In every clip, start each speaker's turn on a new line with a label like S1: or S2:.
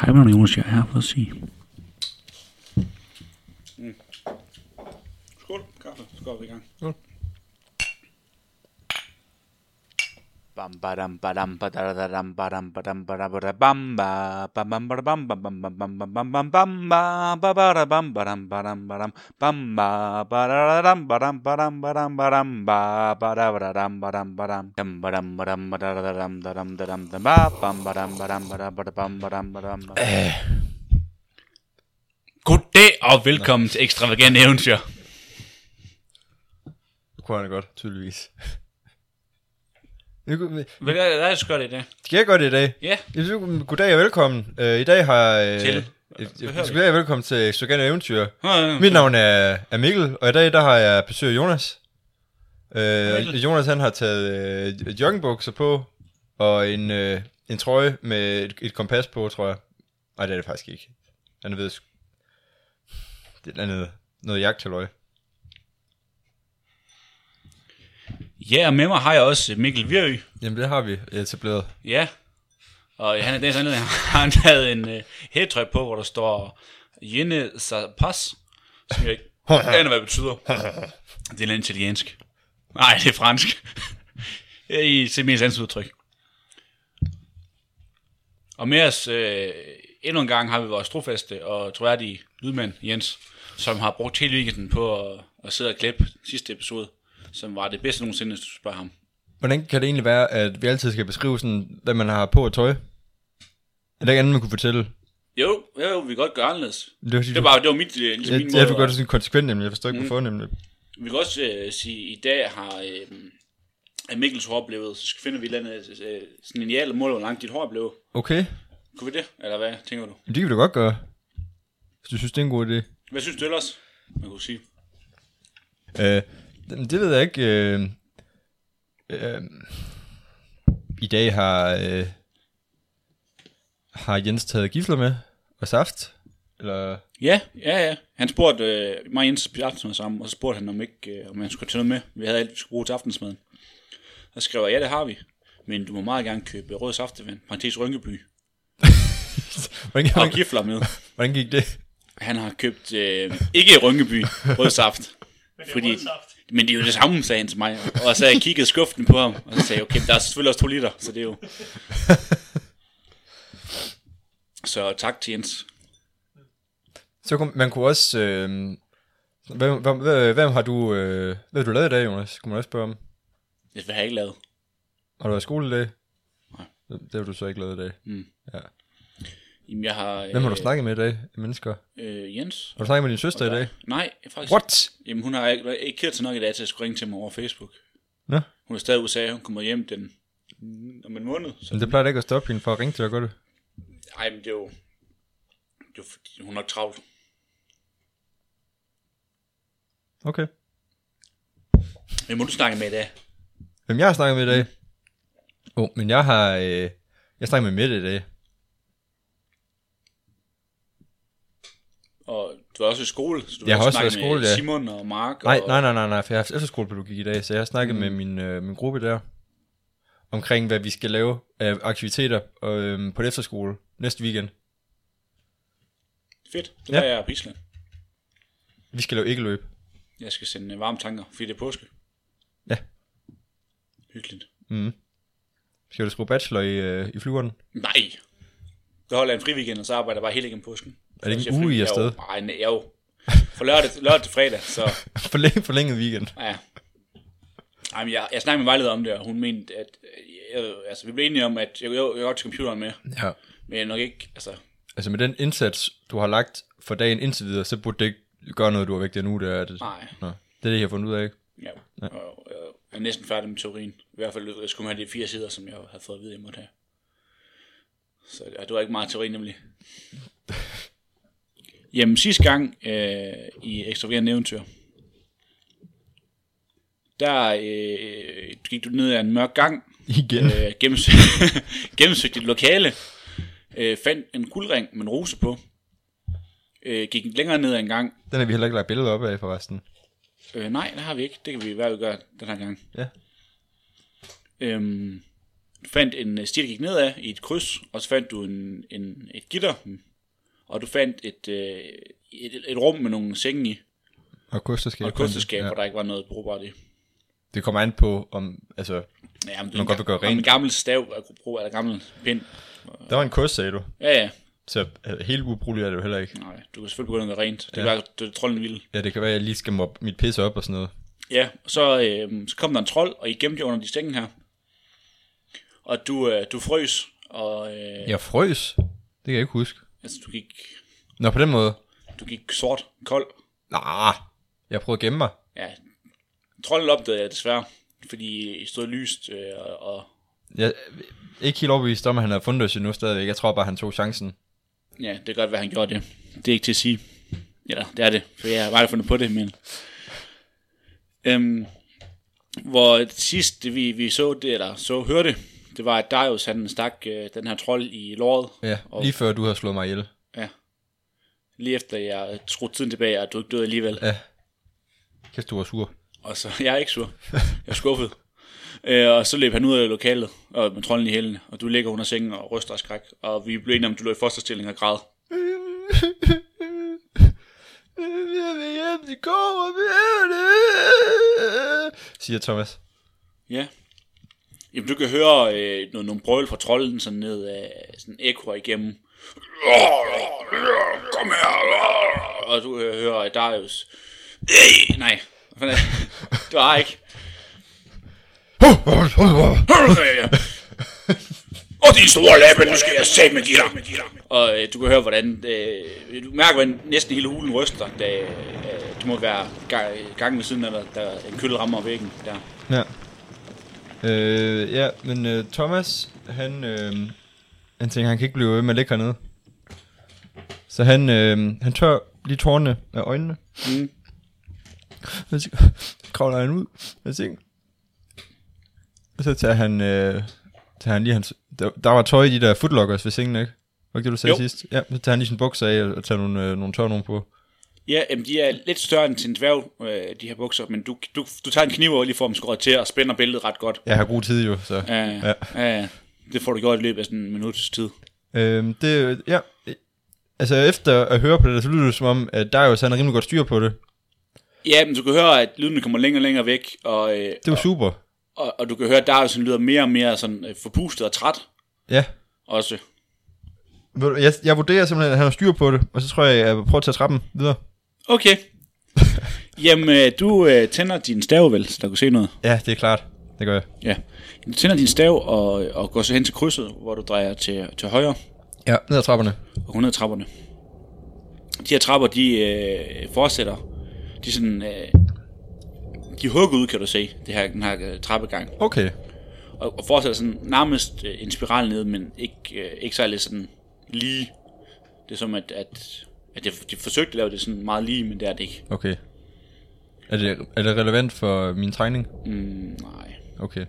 S1: I don't even want you have. Let's see.
S2: Skål, kaffe. Skål i gang.
S3: Bam badam badam badadadam badam badam badabada bam ba bam bam bada bam bam bam bam bam bam bam bam bam ba ba bada bam badam badam badam bam ba badadadam badam badam badam badam ba bada badadam badam badam dam badam badam badadadam dadam dadam dam ba bam badam badam bada bada bam badam badam badam.
S4: Goddag og velkommen til Ekstravagant Eventyr.
S5: Det kunne han godt, tydeligvis. Nu kunne vi-
S4: Hvad er det, gør det i dag?
S5: Skal jeg gøre det i dag?
S4: Ja.
S5: Jeg synes, god- Goddag og velkommen. Øh, I dag har... Øh,
S4: Til.
S5: øh, Goddag og velkommen til Ekstravagant Eventyr.
S4: Hmm.
S5: Mit navn er, er Mikkel, og i dag der har jeg besøg af Jonas. Øh, og
S4: Mikkel.
S5: Jonas han har taget øh, joggingbukser på, og en, øh, en trøje med et, et kompas på, tror jeg. Nej, det er det faktisk ikke. Han ved sgu- det er et eller andet, noget jagthaløj.
S4: Ja, og med mig har jeg også Mikkel Virø.
S5: Jamen det har vi etableret.
S4: Ja. Og han er dagens anledning, har han taget en uh, hættrøj på, hvor der står Jenne Sapas, som jeg ikke aner, hvad det betyder. Det er lidt italiensk. Nej, det er fransk. Det er I til mest andet udtryk. Og med os øh, endnu en gang har vi vores trofaste og troværdige lydmand Jens, som har brugt hele weekenden på at, at sidde og klippe sidste episode, som var det bedste nogensinde, hvis du spørger ham.
S5: Hvordan kan det egentlig være, at vi altid skal beskrive sådan, hvad man har på og tøj? Er der ikke andet, man kunne fortælle?
S4: Jo, jo, jo, vi kan godt gøre anderledes.
S5: Det var, fordi,
S4: Det var, det var mit, øh, ligesom
S5: jeg,
S4: min
S5: jeg,
S4: måde.
S5: jeg,
S4: at- Mm.
S5: gør det sådan konsekvent, nemlig. Jeg forstår ikke, hvorfor, nemlig.
S4: Vi kan også øh, sige, at i dag har øh, at Mikkels hår blevet, så skal- finder vi et eller andet øh, sådan en ideal mål, hvor langt dit hår blev.
S5: Okay,
S4: Kunne vi det? Eller hvad tænker du?
S5: det kan vi da godt gøre. Hvis du synes, det er en god idé.
S4: Hvad synes du ellers? Man kunne sige.
S5: Øh, det det ved jeg ikke. Øh, øh, I dag har, øh, har Jens taget gifler med og saft. Eller,
S4: Ja, ja, ja. Han spurgte øh, mig og Jens spiste aftensmad sammen, og så spurgte han, om, ikke, øh, om han skulle tage noget med. Vi havde alt, vi skulle bruge til aftensmaden. Og så skrev jeg, ja, det har vi. Men du må meget gerne købe rød saftevand, parentes Rynkeby,
S5: hvordan,
S4: og
S5: hvordan,
S4: gifler med.
S5: hvordan gik det?
S4: Han har købt, øh, ikke i Rynkeby, rød saft. fordi, men det er jo det samme, sagde han til mig. Og så jeg kiggede skuften på ham, og så sagde jeg, okay, der er selvfølgelig også to liter, så det er jo... Så tak til Jens.
S5: Så kunne, man kunne også... Øh, hvem, hvem, hvem, hvem, har du, øh, hvad har du lavet i dag, Jonas? Kunne man også spørge om.
S4: Det har jeg ikke lavet.
S5: Har du været i skole i dag? Nej. Det har du så ikke lavet i dag.
S4: Jamen, jeg har... Øh,
S5: Hvem har du snakket med i dag, af mennesker?
S4: Øh, Jens.
S5: Har du snakket med din søster i dag?
S4: Nej, faktisk.
S5: What?
S4: Jamen, hun har ikke, ikke kært til nok i dag til at skulle ringe til mig over Facebook.
S5: Nå.
S4: Hun er stadig i USA, hun kommer hjem den om en måned. Så,
S5: Men det plejer da ikke at stoppe hende for at ringe til dig, gør det?
S4: ej, men det er jo... Det er jo fordi, hun er nok travlt.
S5: Okay.
S4: Hvem må du snakke med i dag?
S5: Hvem jeg har snakket med i dag? Åh, oh, men jeg har... Øh, jeg snakker med Mette i dag.
S4: Og du er også i skole, så du
S5: Jeg har også
S4: snakket
S5: været i skole,
S4: med
S5: ja.
S4: Simon og Mark.
S5: Nej,
S4: og...
S5: nej, nej, nej, nej, for jeg har haft efterskolepædagogik i dag, så jeg har snakket mm. med min, øh, min gruppe der, omkring hvad vi skal lave af aktiviteter øh, på et efterskole næste weekend.
S4: Fedt, det
S5: Ja.
S4: gør jeg på Island.
S5: Vi skal lave ikke løb.
S4: Jeg skal sende øh, varme tanker, fordi det er påske.
S5: Ja.
S4: Hyggeligt.
S5: Mm. Skal du skrive bachelor i, øh, i flyveren?
S4: Nej! Så holder jeg en friweekend, og så arbejder jeg bare hele igen påsken.
S5: Er det ikke
S4: Så
S5: en
S4: jeg
S5: uge, I er
S4: fri-
S5: afsted?
S4: Jo, Nej, nej, jo. For lørdag, lørdag til fredag, så
S5: Forlæng, forlænget weekend.
S4: ja. Ej, men jeg, jeg snakkede med vejleder om det, og hun mente, at øh, jeg, altså, vi blev enige om, at jeg, jeg, jeg går godt til computeren med,
S5: Ja.
S4: men jeg nok ikke, altså,
S5: Altså med den indsats, du har lagt for dagen indtil videre, så burde det ikke gøre noget, du har væk den uge. Der. er Det,
S4: nej.
S5: Nå, det er det, jeg har fundet ud af, ikke?
S4: Ja, og jeg er næsten færdig med teorien. I hvert fald jeg skulle man have de fire sider, som jeg havde fået at vide, jeg måtte have. Så ja, det var ikke meget teori nemlig. Jamen sidste gang øh, i Ekstraverende Eventyr, der øh, gik du ned ad en mørk gang,
S5: Igen.
S4: øh, gennemsøg, gennemsøgte et lokale, øh, fandt en guldring med en rose på, øh, gik længere ned ad en gang,
S5: Den har vi heller ikke lagt billeder op af, forresten.
S4: Øh, nej, det har vi ikke. Det kan vi i hvert fald gøre den her gang.
S5: Ja.
S4: Øhm, fandt en øh, sti, der gik nedad i et kryds, og så fandt du en, en, et gitter, og du fandt et, øh, et, et rum med nogle senge i,
S5: Og kosterskab.
S4: og et kosteskab, ja.
S5: Ja.
S4: hvor der ikke var noget brugbart i.
S5: Det kommer an på, om... Altså,
S4: Ja, men
S5: Man godt vil gøre
S4: En
S5: rent.
S4: gammel stav at kunne bruge, eller gammel pind.
S5: der var en kost, sagde du.
S4: Ja, ja.
S5: Så øh, helt ubrugeligt er det jo heller ikke.
S4: Nej, du kan selvfølgelig begynde at gøre rent. Det kan være, det er trolden vil.
S5: Ja, det kan være, at jeg lige skal mobbe mit pisse op og sådan noget.
S4: Ja, og så, øh, så kom der en trold, og I gemte jer under de stængen her. Og du, øh, du frøs, og øh,
S5: Jeg frøs. Det kan jeg ikke huske.
S4: altså, du, gik,
S5: Nå, på den måde.
S4: du gik sort, kold.
S5: Nah, jeg prøvede at gemme mig.
S4: Ja, trolden opdagede jeg desværre, fordi I stod lyst, øh, og, og
S5: Jeg er ikke helt overbevist om, at han har fundet os endnu stadigvæk. Jeg tror bare, han tog chancen.
S4: ja, det kan godt være, han gjorde det. Det er ikke til at sige. Eller, det er det, for jeg har bare fundet på det, men... Øhm, hvor sidst vi, vi så det, eller så hørte, det var, at Darius han stak øh, den her trold i låret,
S5: Ja,
S4: Og-
S5: lige før du har slået mig ihjel.
S4: lige efter jeg skruede tiden tilbage, og du ikke døde alligevel.
S5: Ja. Kæft, du var sur.
S4: Og så, jeg er ikke sur. Jeg er skuffet. Øh, og så løb han ud af lokalet og med trolden i hælene, og du ligger under sengen og ryster af skræk, og vi blev enige om, at du lå i fosterstilling og græd.
S5: Jeg vil hjem, de kommer Siger Thomas.
S4: Ja. Jamen, du kan høre øh, noget, nogle brøl fra trolden sådan ned af sådan ekkoer igennem. Kom her! Og du øh, hører Darius. "Ej, Nej, Hvad fanden er det? det var ikke. Og din store læbe, nu skal jeg sætte med dig. Og øh, du kan høre, hvordan... Øh, du mærker, hvordan næsten hele hulen ryster, da øh, det må være ga- gangen ved siden af dig, der en kølle rammer væggen der.
S5: Ja. Øh, ja, men øh, Thomas, han, øh, han tænker, han kan ikke blive ved med at ligge hernede. Så han, øh, han tør lige tårne af øjnene.
S4: Mm.
S5: Og så kravler han ud af sengen. Og så tager han, øh, tager han lige hans... Der, der var tøj i de der footlockers ved sengen, ikke? Var ikke det, du sagde
S4: Jo.
S5: sidst? Ja, så tager han lige sin bukser af og tager nogle, øh, nogle tør nogen på.
S4: Ja, jamen, de er lidt større end sin dværg, øh, de her bukser, men du, du, du tager en kniv og lige får dem skåret til og spænder bæltet ret godt.
S5: Jeg har god tid jo, så...
S4: Ja, ja. ja. Det får du gjort i løbet af sådan en minuts tid.
S5: Øhm, det, ja, øh, altså efter at høre på det, der, så lyder det som om, at Darius han har rimelig godt styr på det.
S4: Ja, men du kan høre, at lyden kommer længere og længere væk, og, øh,
S5: Det var super.
S4: og, og du kan høre, at Darius han lyder mere og mere sådan, øh, forpustet og træt
S5: Ja.
S4: også.
S5: Ved du, Jeg, jeg vurderer simpelthen, at han har styr på det, og så tror jeg, at jeg prøver at tage trappen videre.
S4: Okay. Jamen, øh, du øh, tænder din stav vel, så der kan se noget.
S5: Ja, det er klart. Det gør jeg.
S4: Ja. Du tænder din stav og, og går så hen til krydset, hvor du drejer til, til højre
S5: Ja, ned ad trapperne.
S4: og 100 trapperne. De her trapper, de øh, fortsætter. De er sådan... Øh, de er hugget ud, kan du se, det her, den her øh, trappegang.
S5: Okay.
S4: Og, og fortsætter sådan nærmest øh, en spiral ned, men ikke, øh, ikke særlig sådan lige. Det er som, at, at, at de, de forsøgte at lave det sådan meget lige, men det er det ikke.
S5: Okay. Er det, er det relevant for min tegning?
S4: Mm, nej,
S5: Okay.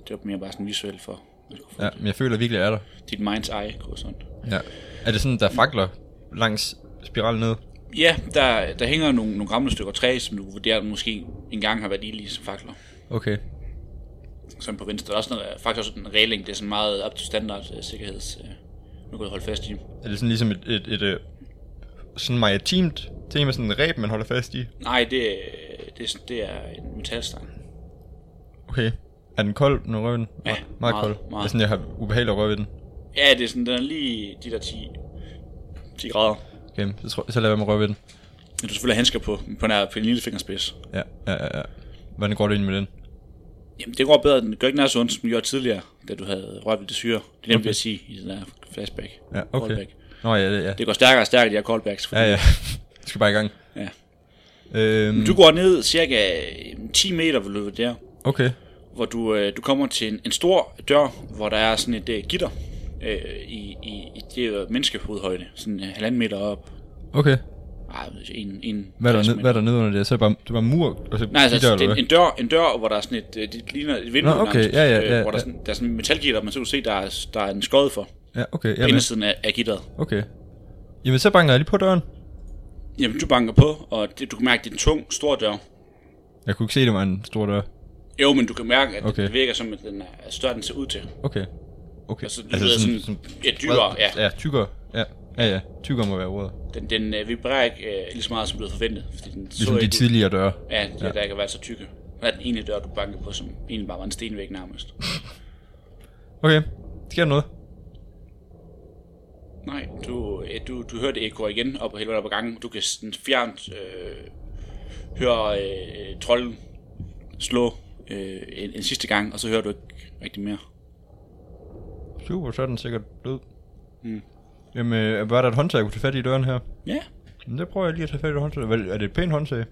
S4: det var mere bare sådan visuelt for, at kunne få
S5: Ja, men jeg føler virkelig, at jeg er der.
S4: dit mind's eye går sådan.
S5: Ja. Er det sådan, der fakler langs spiralen ned?
S4: Ja, der, der hænger nogle, nogle gamle stykker træ, som du vurderer måske engang har været ildige som fakler.
S5: Okay.
S4: sådan på venstre. Der er også noget, faktisk også en regling, det er sådan meget up to standard uh, sikkerheds, uh, nu kan du holde fast i.
S5: Er det sådan ligesom et, et, et, et sådan maritimt tema, sådan en ræb, man holder fast i?
S4: Nej, det, øh, det, er- det er en metalstang.
S5: Okay. Er den kold, når røven?
S4: Ja,
S5: meget,
S4: meget,
S5: meget kold.
S4: meget.
S5: Meget. Sådan, jeg har ubehageligt at røre ved den.
S4: Ja, det er sådan, den er lige de der 10, 10 grader.
S5: Okay, så, tror, så lader jeg mig røre ved den.
S4: Ja, Du selvfølgelig har handsker på, på, nær, på en lille fingerspids.
S5: Ja, ja, ja, ja. Hvordan går det ind med den?
S4: Jamen, det går bedre, den gør ikke nær så ondt, som den gjorde tidligere, da du havde rørt ved det syre. Det er nemt okay. at sige i den her flashback.
S5: Ja, okay.
S4: Callback.
S5: Nå ja, det, ja.
S4: Det går stærkere og stærkere, de her callbacks. Fordi,
S5: Ja, ja. Jeg skal bare i gang.
S4: Ja.
S5: Øhm,
S4: Du går ned cirka øh, 10 meter, vil du vurdere,
S5: Okay.
S4: hvor du, øh, du kommer til en, en stor dør, hvor der er sådan et øh, gitter øh, i, i, i det er jo menneskehovedhøjde, sådan øh, halvanden meter op.
S5: Okay.
S4: Ej, jeg ved ikke, en, en
S5: Hvad er der,
S4: plads,
S5: ned,
S4: men-
S5: hvad er der nede under det? Så er det bare, det er bare mur? Og så
S4: Nej, altså,
S5: gitter,
S4: altså
S5: eller
S4: det er
S5: hvad?
S4: en, en, dør, en dør, hvor der er sådan et, øh, det ligner et vindue øh,
S5: Nå, okay, ja, ja, ja,
S4: hvor der, er
S5: ja.
S4: sådan, der er sådan et metalgitter, man så kan du se, der er, der er en skod for
S5: Ja, okay.
S4: på
S5: Jamen,
S4: indersiden af, af gitteret.
S5: okay. Jamen, så banker jeg lige på døren.
S4: Jamen, du banker på, og det, du kan mærke, det er en tung, stor dør.
S5: Jeg kunne ikke se, det var en stor dør.
S4: Jo, men du kan mærke, at okay.
S5: Okay.
S4: det virker som, at den er større, end den ser ud til.
S5: Okay. Okay.
S4: Altså, det lyder sådan, ja, dybere, ja.
S5: Ja, tykkere. Ja, ja, ja. Tykkere må være ordet.
S4: Den, den øh, vibrerer ikke øh, lige så meget, som blevet forventet. Fordi den
S5: Ligesom
S4: så
S5: de
S4: ikke ud-
S5: tidligere døre.
S4: Ja, de der, der ikke har været så tykke. Hvad er den ene dør, du bankede på, som egentlig bare var en stenvæg nærmest?
S5: Okay. Sker der noget?
S4: Nej, du, øh, du, du hørte ekko igen op og helt op ad gangen. Du kan sådan fjernt øh, høre øh, trolden slå øh, en, en, sidste gang, og så hører du ikke rigtig mere.
S5: Super, så er den sikkert død. Mm. Jamen, øh, var der et håndtag, jeg kunne tage fat i i døren her?
S4: Ja,
S5: Men det prøver jeg lige at tage fat i et håndtag. Hvad- Er det et pænt håndtag?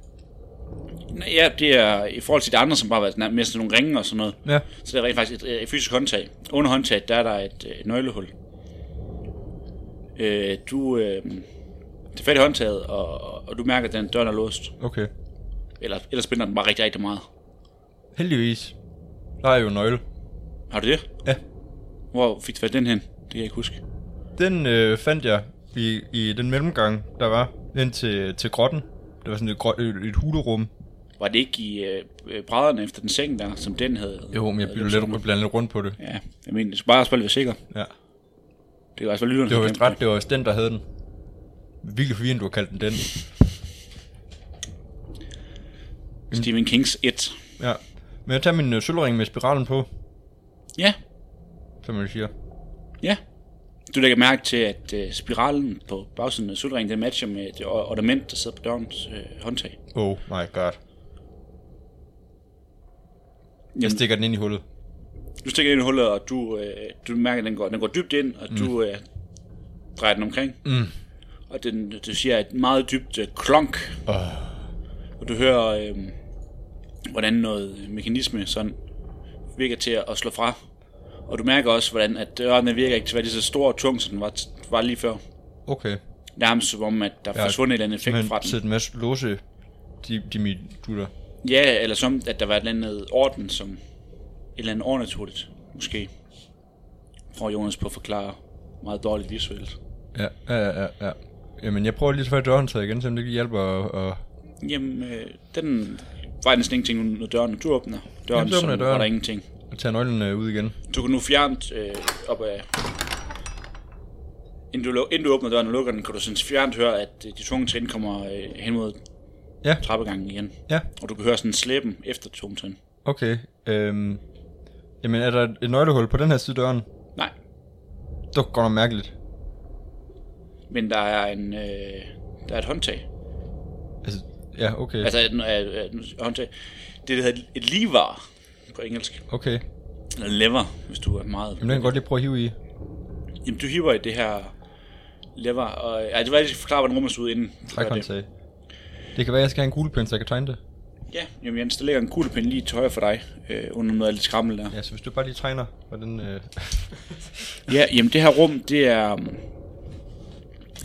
S4: Nej, ja det er i forhold til de andre, som bare har været mere sådan nogle ringe og sådan noget.
S5: Ja.
S4: Så det er rent faktisk et, øh, et fysisk håndtag. Under håndtaget, der er der et, øh, et nøglehul. Øh, du øh, tager fat i håndtaget, og, og du mærker, at den døren er låst.
S5: Okay.
S4: Eller, ellers spænder den bare rigtig, rigtig meget.
S5: Heldigvis. Der er jo en nøgle.
S4: Har du det?
S5: Ja.
S4: Hvor fik du fat i den hen? Det kan jeg ikke huske.
S5: Den øh, fandt jeg i, i den mellemgang, der var ind til, til grotten. Det var sådan et, grot, et, et hulerum.
S4: Var det ikke i øh, øh, brædderne efter den seng der, som den havde?
S5: Jo, men jeg
S4: havde
S5: blev lidt, rundt- blandet lidt rundt på det.
S4: Ja, jeg mener, du skal bare spille være sikker.
S5: Ja.
S4: Det er altså lytterne.
S5: Det var
S4: der
S5: vist
S4: kæmper.
S5: ret, det var vist den, der havde den. Virkelig forvirrende, du har kaldt den den.
S4: Stephen Kings 1.
S5: Ja. Men jeg tager min øh, sølvring med spiralen på,
S4: Ja,
S5: som man siger.
S4: ja. Du lægger mærke til, at øh, spiralen på bagsiden af sølvringen, den matcher med det or- ornament, der sidder på dørens øh, håndtag.
S5: Oh my god. Jeg
S4: Jamen.
S5: stikker den ind i hullet.
S4: Du stikker den ind i hullet, og du, øh, du mærker, at den går, den går dybt ind, og mm. du øh, drejer den omkring. Mm. Og den, du siger et meget dybt øh, klonk. Oh. Og du hører, øh, hvordan noget mekanisme sådan virker til at slå fra. Og du mærker også, hvordan at døren den virker ikke til at være lige så stor og tung, som den var, var lige før.
S5: Okay.
S4: Nærmest som om, at der er
S5: Ja,
S4: forsvundet et eller andet effekt
S5: Men
S4: fra den.
S5: sæt en masse låse, de, de mit dutter.
S4: Ja, eller som at der var et eller andet orden, som et eller andet overnaturligt, måske. Prøver Jonas på at forklare meget dårligt visuelt.
S5: Ja, ja, ja, ja, ja. Jamen, jeg prøver lige så fat i dørhåndtaget igen, så det ikke hjælper at... at
S4: Jamen, øh, den var næsten ingenting, når døren du åbner. Døren,
S5: Jamen, så
S4: så
S5: åbner jeg
S4: døren.
S5: døren.
S4: var der ingenting.
S5: at tage nøglen øh, ud igen.
S4: Du kan nu fjernt øh, op af... Inden du, lu- inden du åbner døren og lukker den, kan du sådan fjernt høre, at øh, de tunge trin kommer øh, hen mod
S5: Ja.
S4: trappegangen igen.
S5: Ja,
S4: Og du kan høre sådan slæben efter de tunge trin.
S5: okay. Øhm, jamen, er der et nøglehul på den her side af døren?
S4: Nej,
S5: Det var godt nok mærkeligt.
S4: men der er en... Øh, der er et håndtag.
S5: Altså, ja, okay.
S4: Altså, et, et, et, et håndtag. Det, der hedder et lever på engelsk.
S5: Okay.
S4: Eller lever, hvis du er meget...
S5: Jamen, den kan jeg godt lige prøve at hive i.
S4: Jamen, du hiver i det her lever, og ja, det var, jeg skal forklare, hvordan rummet så ud inden. du
S5: Træk
S4: gør det.
S5: håndtag. Det kan være, jeg skal have en kuglepind, så jeg kan tegne det.
S4: Ja, jamen Jens, der ligger en kuglepind lige til højre for dig, øh, under noget af lidt skrammel der. Ja.
S5: Ja, så hvis du bare lige tegner, hvordan... Øh...
S4: ja, jamen det her rum, det er um,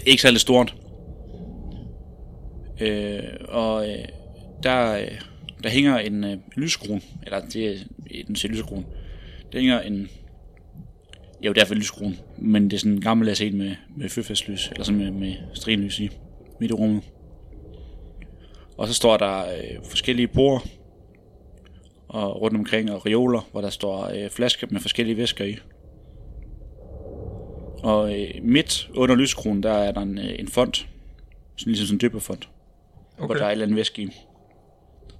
S4: ikke særlig stort. Øh, og øh, der, øh, der hænger en øh, lyskron, eller det er øh, en lyskron. Der hænger en, jo derfor en lyskron, men det er sådan en gammel jeg har set med, med fyrfærdslys, eller sådan med, med strinlys i midt i rummet. Og så står der øh, forskellige bord og rundt omkring og reoler, hvor der står øh, flasker med forskellige væsker i. Og øh, midt under lyskronen, der er der en, øh, en font, sådan ligesom sådan en døbefont, okay. hvor der er et eller andet væske i.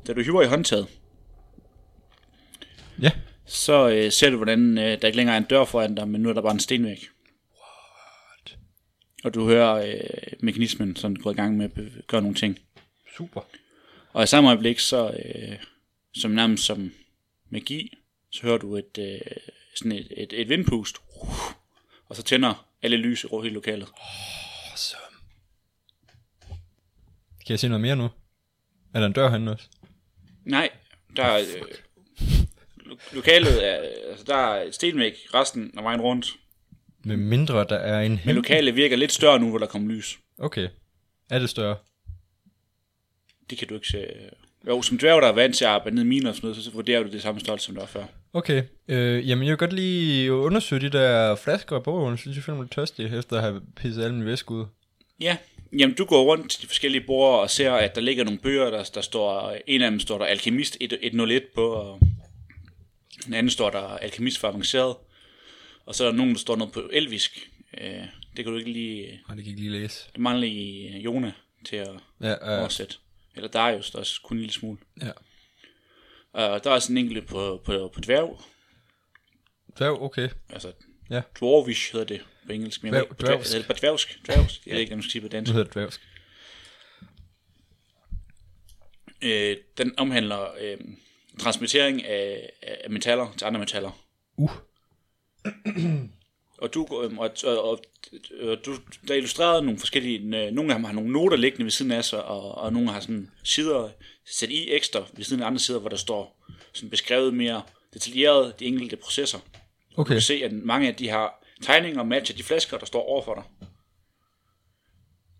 S4: Da du hiver i håndtaget,
S5: Ja.
S4: så øh, ser du, hvordan øh, der ikke længere er en dør foran dig, men nu er der bare en stenvæg. What? Og du hører øh, mekanismen sådan gå i gang med at bev- gøre nogle ting.
S5: Super.
S4: Og i samme øjeblik, så øh, som nærmest som magi, så hører du et, øh, sådan et, et, et vindpust. Og så tænder alle lys i ro- hele lokalet.
S5: Awesome. Kan jeg se noget mere nu? Er der en dør herinde også?
S4: Nej, der er... Øh, lo- lokalet er... Altså, der er et stenvæg resten af vejen rundt.
S5: Med mindre der er en...
S4: Men lokalet virker lidt større nu, hvor der kommer lys.
S5: Okay. Er det større?
S4: Det kan du ikke se. Jo, som dværg, der er vant til at arbejde ned i miner og sådan noget, så vurderer du det samme størrelse, som der var før.
S5: Okay. Øh, jamen, jeg vil godt lige undersøge de der flasker i bogen. Jeg synes, jeg føler mig lidt tørstig, efter at have pisset alle mine væske ud.
S4: Ja, jamen du går rundt til de forskellige borde og ser, at der ligger nogle bøger, der, der står, en af dem står der Alkemist 101 på, og Den anden står der alkemist for avanceret. Og så er der nogen, der står noget på elvisk. Øh, det kan du ikke lige...
S5: Og det kan ikke lige læse.
S4: Det mangler lige Jona til at
S5: Ja,
S4: ja.
S5: øh,
S4: oversætte. Eller Darius, der er kun en lille smule.
S5: ja.
S4: Og der er også en enkelt på, på, på dværg.
S5: Dværg, okay.
S4: Altså,
S5: Ja.
S4: dwarvish hedder det på engelsk. Men jeg ved
S5: Dværg-
S4: ikke, på dværg,
S5: dværgsk.
S4: hedder det på dværgsk. Dværgsk. Jeg ved ikke, hvad man skal sige på dansk.
S5: Nu hedder det dværgsk.
S4: Øh, den omhandler øh, transmittering af, af metaller til andre metaller.
S5: Uh.
S4: Og du, øh, og, og, og, og du der er illustreret nogle forskellige, øh, nogle af dem har nogle noter liggende ved siden af sig, og, og nogle har sådan sider sat i ekstra ved siden af andre sider, hvor der står sådan beskrevet mere detaljeret de enkelte processer. Du
S5: Okay.
S4: kan se, at mange af de her tegninger matcher de flasker, der står overfor dig.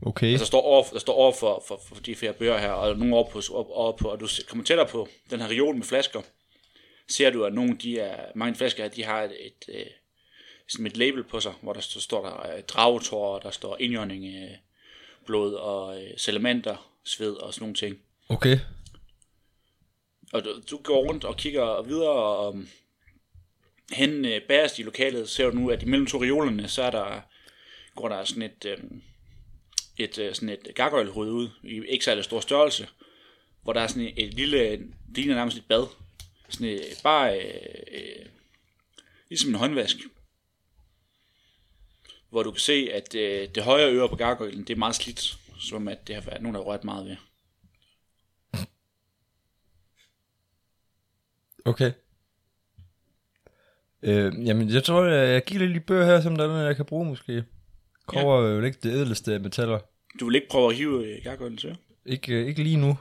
S5: Okay.
S4: Altså, der står over, der står over for, for, for de fire bøger her, og nogle over på, op, over på, og du se- kommer tættere på den her reol med flasker, ser du, at nogle af de er, mange af de flasker her, de har et, et, øh, sådan et label på sig, hvor der så står der øh, dragetår, der står indjørning øh, blod og øh, salamander, sved og sådan nogle ting.
S5: Okay.
S4: Og du, du går rundt og kigger videre, og um, hen øh, bagerst i lokalet ser du nu, at imellem to reolerne, så er der, går der sådan et, øh, et, øh, sådan et gargoylehoved ud, i ikke særlig stor størrelse, hvor der er sådan et lille, det ligner nærmest et bad, sådan et, bare øh, øh, ligesom en håndvask, hvor du kan se, at øh, det højre øre på gargoylen, det er meget slidt, som at det har været nogen, der har rørt meget ved.
S5: Okay. Øh, jamen, jeg tror, jeg, jeg kigger lidt i bøger her, som der er noget, jeg kan bruge måske. Kommer ja. jo ikke det ædeleste af metaller.
S4: Du vil ikke prøve at hive øh, gargoylen til?
S5: Ikke, øh, ikke lige nu.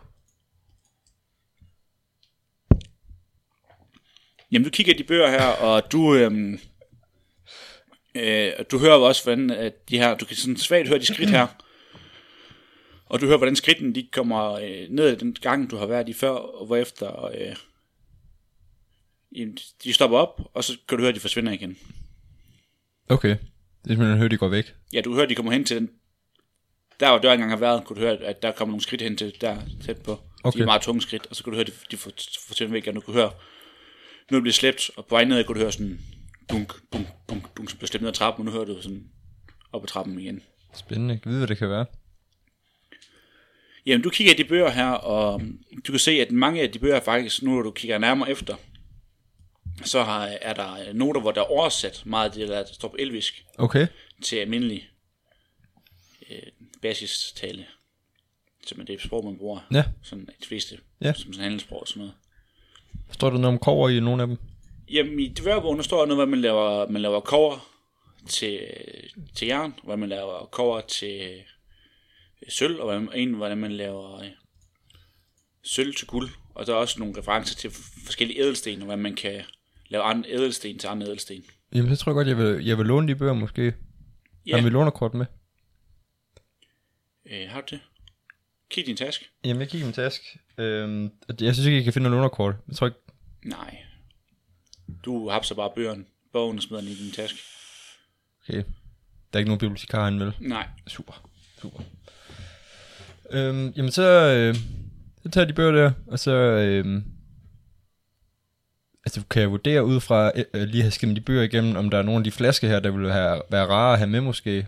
S4: Jamen, du kigger i de bøger her, og du, øhm, øh, og du hører jo også, hvordan at de her, du kan sådan svagt høre de skridt her, og du hører, hvordan skridtene de kommer øh, ned ad den gang, du har været i før, og hvorefter øh, jamen, de stopper op, og så kan du høre, at de forsvinder igen.
S5: Okay. Det er simpelthen hørt, de går væk.
S4: Ja, du hører, de kommer hen til den, der hvor døren engang har været, kunne du høre, at der kommer nogle skridt hen til der tæt på. Okay.
S5: Okay.
S4: De er meget tunge skridt, og så kunne du høre, at de, de for- forsvinder væk, og du kunne høre, nu bliver slæbt, og på vej nedad kunne du høre sådan, dunk, dunk, dunk, dunk, som blev slæbt ned ad trappen, og nu hører du sådan op ad trappen igen.
S5: Spændende. Jeg ved, hvad det kan være.
S4: Jamen, du kigger i de bøger her, og du kan se, at mange af de bøger faktisk, nu når du kigger nærmere efter, så har, er der noter, hvor der er oversat meget af det, der står på elvisk
S5: Okay.
S4: til almindelig øh, basistale, som er det sprog, man bruger.
S5: Ja.
S4: Sådan de fleste,
S5: Ja.
S4: som sådan handelssprog og sådan noget.
S5: Står der noget om kover i nogle af dem?
S4: Jamen, i dværgbogen, der står noget, hvad man laver, man laver kover til, til jern, hvordan man laver kover til øh, sølv, og hvordan, en, hvordan man laver øh, sølv til guld. Og der er også nogle referencer til forskellige ædelsten, og hvordan man kan lave andre ædelsten til andre ædelsten.
S5: Jamen, så tror jeg godt, jeg vil, jeg vil låne de bøger måske. Ja.
S4: Ja.
S5: Har vi lånerkort med?
S4: Øh, har du det? Kig i din taske.
S5: Jamen, jeg kigger i min task. Øhm, jeg synes ikke, jeg kan finde noget lånerkort. Jeg tror ikke...
S4: Nej. Du hapser bare bøgerne, bogen og smider den i din taske.
S5: Okay. Der er ikke nogen bibliotekar herinde, vel?
S4: Nej.
S5: Super, super. Øhm, jamen så, øh, så tager jeg de bøger der, og så øh, altså, kan jeg vurdere ud fra øh, øh, lige at have skimmet de bøger igennem, om der er nogle af de flasker her, der ville have, være rare at have med måske.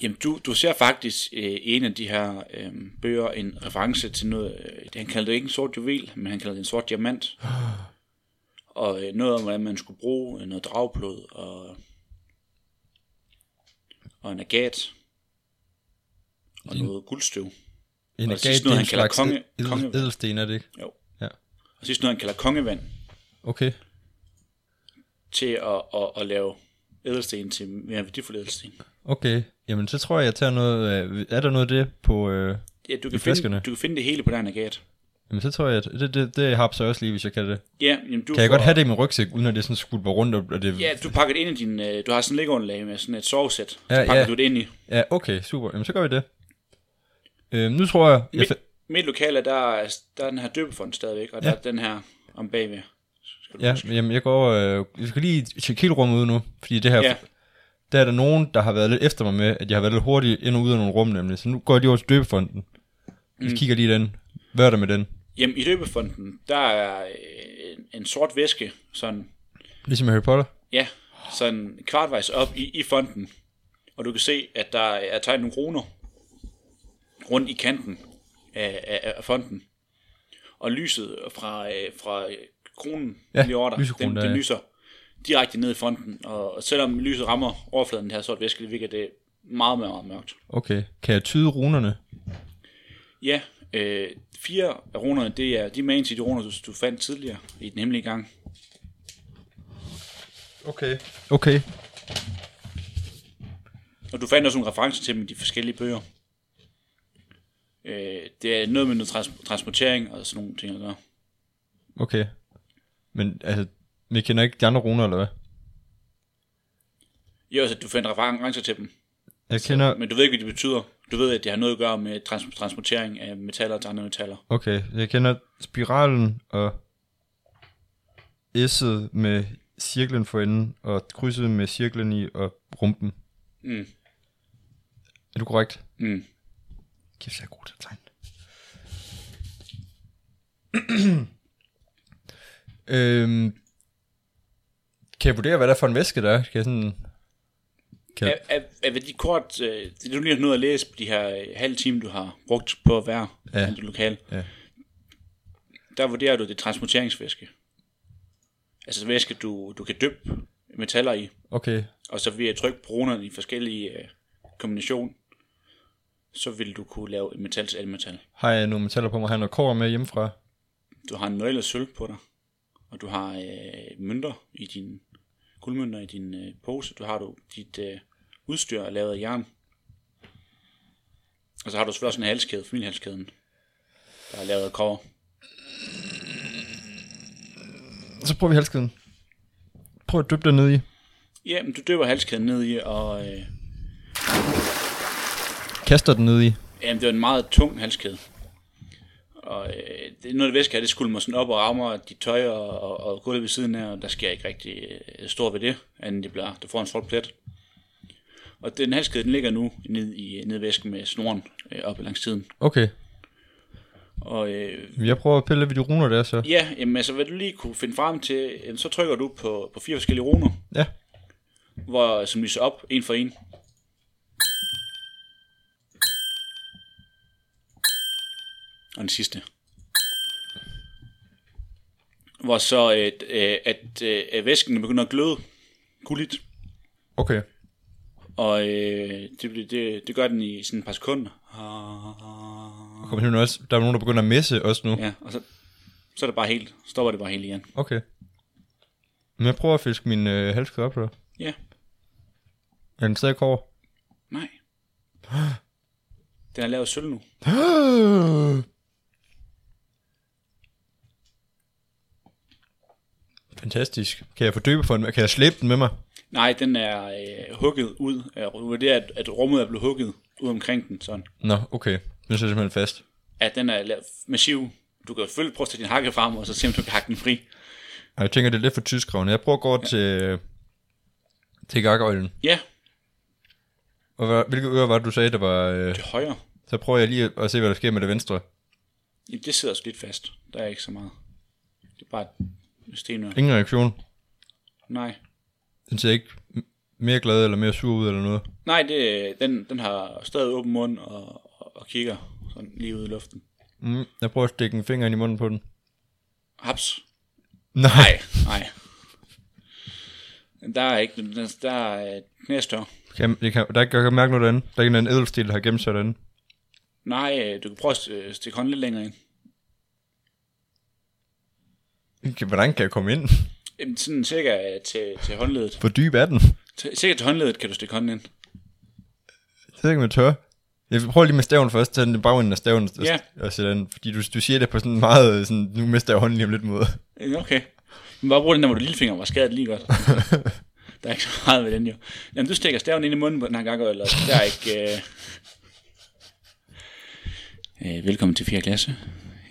S4: Jamen, du, du ser faktisk øh, i en af de her øh, bøger en reference til noget... Øh, han kalder det ikke en sort juvel, men han kalder det en sort diamant. Og øh, noget om, hvordan man skulle bruge øh, noget dragblod og, og en agat. Og noget guldstøv.
S5: En
S4: Og
S5: agat,
S4: sidst
S5: det
S4: noget,
S5: er
S4: han
S5: en
S4: kalder
S5: slags
S4: konge-
S5: konge, edel,
S4: konge-
S5: edelsten, er det ikke?
S4: Jo.
S5: Ja.
S4: Og sidst noget, han kalder kongevand,
S5: Okay,
S4: til at, at, at lave ædelsten til mere værdifuld ædelsten.
S5: okay. Jamen så tror jeg, jeg tager noget, øh, er der noget af det på, øh,
S4: Ja, du kan,
S5: flaskerne?
S4: finde, du kan finde det hele på den agat.
S5: jamen så tror jeg, at det, det, det har jeg også lige, hvis jeg kan det.
S4: Ja, jamen, du
S5: Kan jeg
S4: får-
S5: godt have det i min rygsæk, uden at det sådan skvulper rundt, og det,
S4: Ja, du pakker det ind i din... Øh, du har sådan en lægeunderlag med sådan et sovesæt. Så
S5: Ja,
S4: ja, pakker
S5: ja.
S4: ja. du det ind i.
S5: Ja, okay, super. Jamen, så gør vi det. Øhm, nu tror jeg... jeg
S4: Mit,
S5: fa-
S4: mit lokale, der, er- der er den her døbefond stadigvæk, og der er den her om bagved. Skal du
S5: ja,
S4: huske.
S5: jamen, jeg går... Øh, jeg skal lige tjekke hele rummet ud nu, fordi det her...
S4: ja.
S5: Der er der nogen, der har været lidt efter mig med, at jeg har været lidt hurtigt ind og ud af nogle rum, nemlig. Så nu går jeg lige over til døbefonden.
S4: Mm.
S5: Vi kigger lige i den. Hvad er der med den?
S4: Jamen, i døbefonden, der er øh, en, en sort væske, sådan,
S5: Ligesom Harry Potter.
S4: ja, sådan kvartvejs op i, i fonden. Og du kan se, at der er tegnet nogle runer rundt i kanten af, af, af fonden. Og lyset fra, øh, fra øh, kronen,
S5: Ja,
S4: lige over dig,
S5: lysekronen,
S4: den,
S5: der,
S4: den
S5: ja.
S4: lyser direkte ned i fonden. Og selvom lyset rammer overfladen af den her sort væske, det virker det meget, meget, meget mørkt.
S5: Okay. Kan jeg tyde runerne?
S4: Ja, øh, fire af runerne, det er de magiske de runer, du, du fandt tidligere i den hemmelige gang.
S5: Okay. Okay.
S4: Og du fandt også en reference til dem i de forskellige bøger. Øh, det er noget med noget trans- transportering og sådan nogle ting at gøre.
S5: Okay. Men altså, vi kender ikke de andre runer, eller hvad?
S4: Jo, altså, du fandt referencer til dem,
S5: Jeg kender...
S4: men du ved ikke, hvad de betyder. Du ved, at det har noget at gøre med trans- transportering af metaller til andre metaller.
S5: Okay, jeg kender spiralen og S'et med cirklen for enden, og krydset med cirklen i og rumpen.
S4: Mm.
S5: Er du korrekt?
S4: Mm.
S5: Kæft, jeg er god til at tegne. øhm, kan jeg vurdere, hvad der er for en væske, der er? Kan jeg sådan... Kan
S4: Er,
S5: jeg...
S4: er, er de kort, øh, det du lige har nået at læse på de her øh, halve time, du har brugt på at være
S5: Ja.
S4: ja. i det lokale,
S5: Ja.
S4: der vurderer du det er transmuteringsvæske. Altså væske, du, du kan dyppe metaller i,
S5: Okay,
S4: og så ved at trykke på runerne i forskellige øh, kombination, så vil du kunne lave et metal til et metal.
S5: har jeg nogle metaller på mig? Har jeg noget kår med hjemmefra?
S4: Du har en nøgle af sølv på dig, og du har øh, mønter i din guldmønter i din øh, pose. Du har du dit øh, udstyr er lavet af jern. Og så har du selvfølgelig også en halskæde, familiehalskæden, der er lavet af kover.
S5: Så prøver vi halskeden. Prøv at dyppe den ned i.
S4: Ja, men du døber halskæden ned i, og øh,
S5: Kaster den ned i.
S4: jamen, det var en meget tung halskæde. Og øh, det, noget af det væske her, det skulle mig sådan op og rammer dit tøj og, og, og gulvet ved siden af, og der sker ikke rigtig øh, stor ved det, andet det bliver, du får en sort plet. Og den halskæde, den ligger nu ned i ned i væsken med snoren øh, op langs tiden.
S5: Okay,
S4: Og øh,
S5: Jeg prøver at pille lidt ved de runer der, så.
S4: ja, jamen, altså hvad du lige kunne finde frem til, jamen, så trykker du på, på fire forskellige runer,
S5: Ja.
S4: hvor, som lyser op en for en. Og den sidste. Hvor så, øh, at, at, øh, at væsken begynder at gløde gulligt,
S5: Okay.
S4: og øh, det, bliver- det, det gør den i sådan et par sekunder.
S5: Kom nu også. Der er nogen, der begynder at messe også nu.
S4: Ja, og så, så er det bare helt, stopper det bare helt igen.
S5: Okay. Men jeg prøver at fiske min øh, halskede op her.
S4: Ja,
S5: Er den stadig over?
S4: nej. Den er lavet af sølv nu.
S5: Fantastisk. Kan jeg få døbe for den? Kan jeg slæbe den med mig?
S4: Nej, den er øh, hugget ud. Øh, Du vurderer, at, at rummet er blevet hugget ud omkring den, sådan.
S5: Nå, okay. Den sidder simpelthen fast.
S4: At den er lavet massiv. Du kan selvfølgelig prøve at tage din hakke frem, og så se, om du kan hakke den fri.
S5: Og jeg tænker, det er lidt for tyskrevende. Jeg prøver at gå over til, øh, til gakkeøjlen.
S4: Ja,
S5: Og hvad, hvilke ører var det, du sagde, der var... Øh,
S4: til højre.
S5: så prøver jeg lige at, at se, hvad der sker med det venstre.
S4: Jamen, det sidder også lidt fast. Der er ikke så meget. Det er bare et stenør.
S5: Ingen reaktion.
S4: Nej.
S5: Den ser ikke m- mere glad eller mere sur ud eller noget.
S4: Nej, det, den, den har stadig åben mund og, og, og kigger sådan lige ud i luften.
S5: Mm, jeg prøver at stikke en finger ind i munden på den.
S4: Haps.
S5: Nej.
S4: Nej, nej. Der er ikke, der, der er knæstør.
S5: Kan, jeg kan, der er ikke, jeg kan mærke noget derinde. Der er ikke en eller anden edelstil, der har gemt sig derinde.
S4: Nej, øh, du kan prøve at øh, stikke hånden lidt længere ind.
S5: Kan- Hvordan kan jeg komme ind?
S4: Jamen, sådan cirka øh, til, til håndledet.
S5: Hvor dyb er den?
S4: Til, cirka til håndledet kan du stikke hånden ind.
S5: Det er ikke med tør. Jeg prøver lige med staven først, tage den bagenden af staven og,
S4: Ja.
S5: og sætte den, fordi du, du siger det på sådan en meget, øh, sådan, nu mister jeg hånden lige om lidt mod.
S4: Øh, Okay. Men bare brug den der, hvor du lillefinger var skadet lige godt. der er ikke så meget ved den jo. Jamen, du stikker staven ind i munden på den her gang, eller der er ikke... Øh... Øh, velkommen til 4. klasse.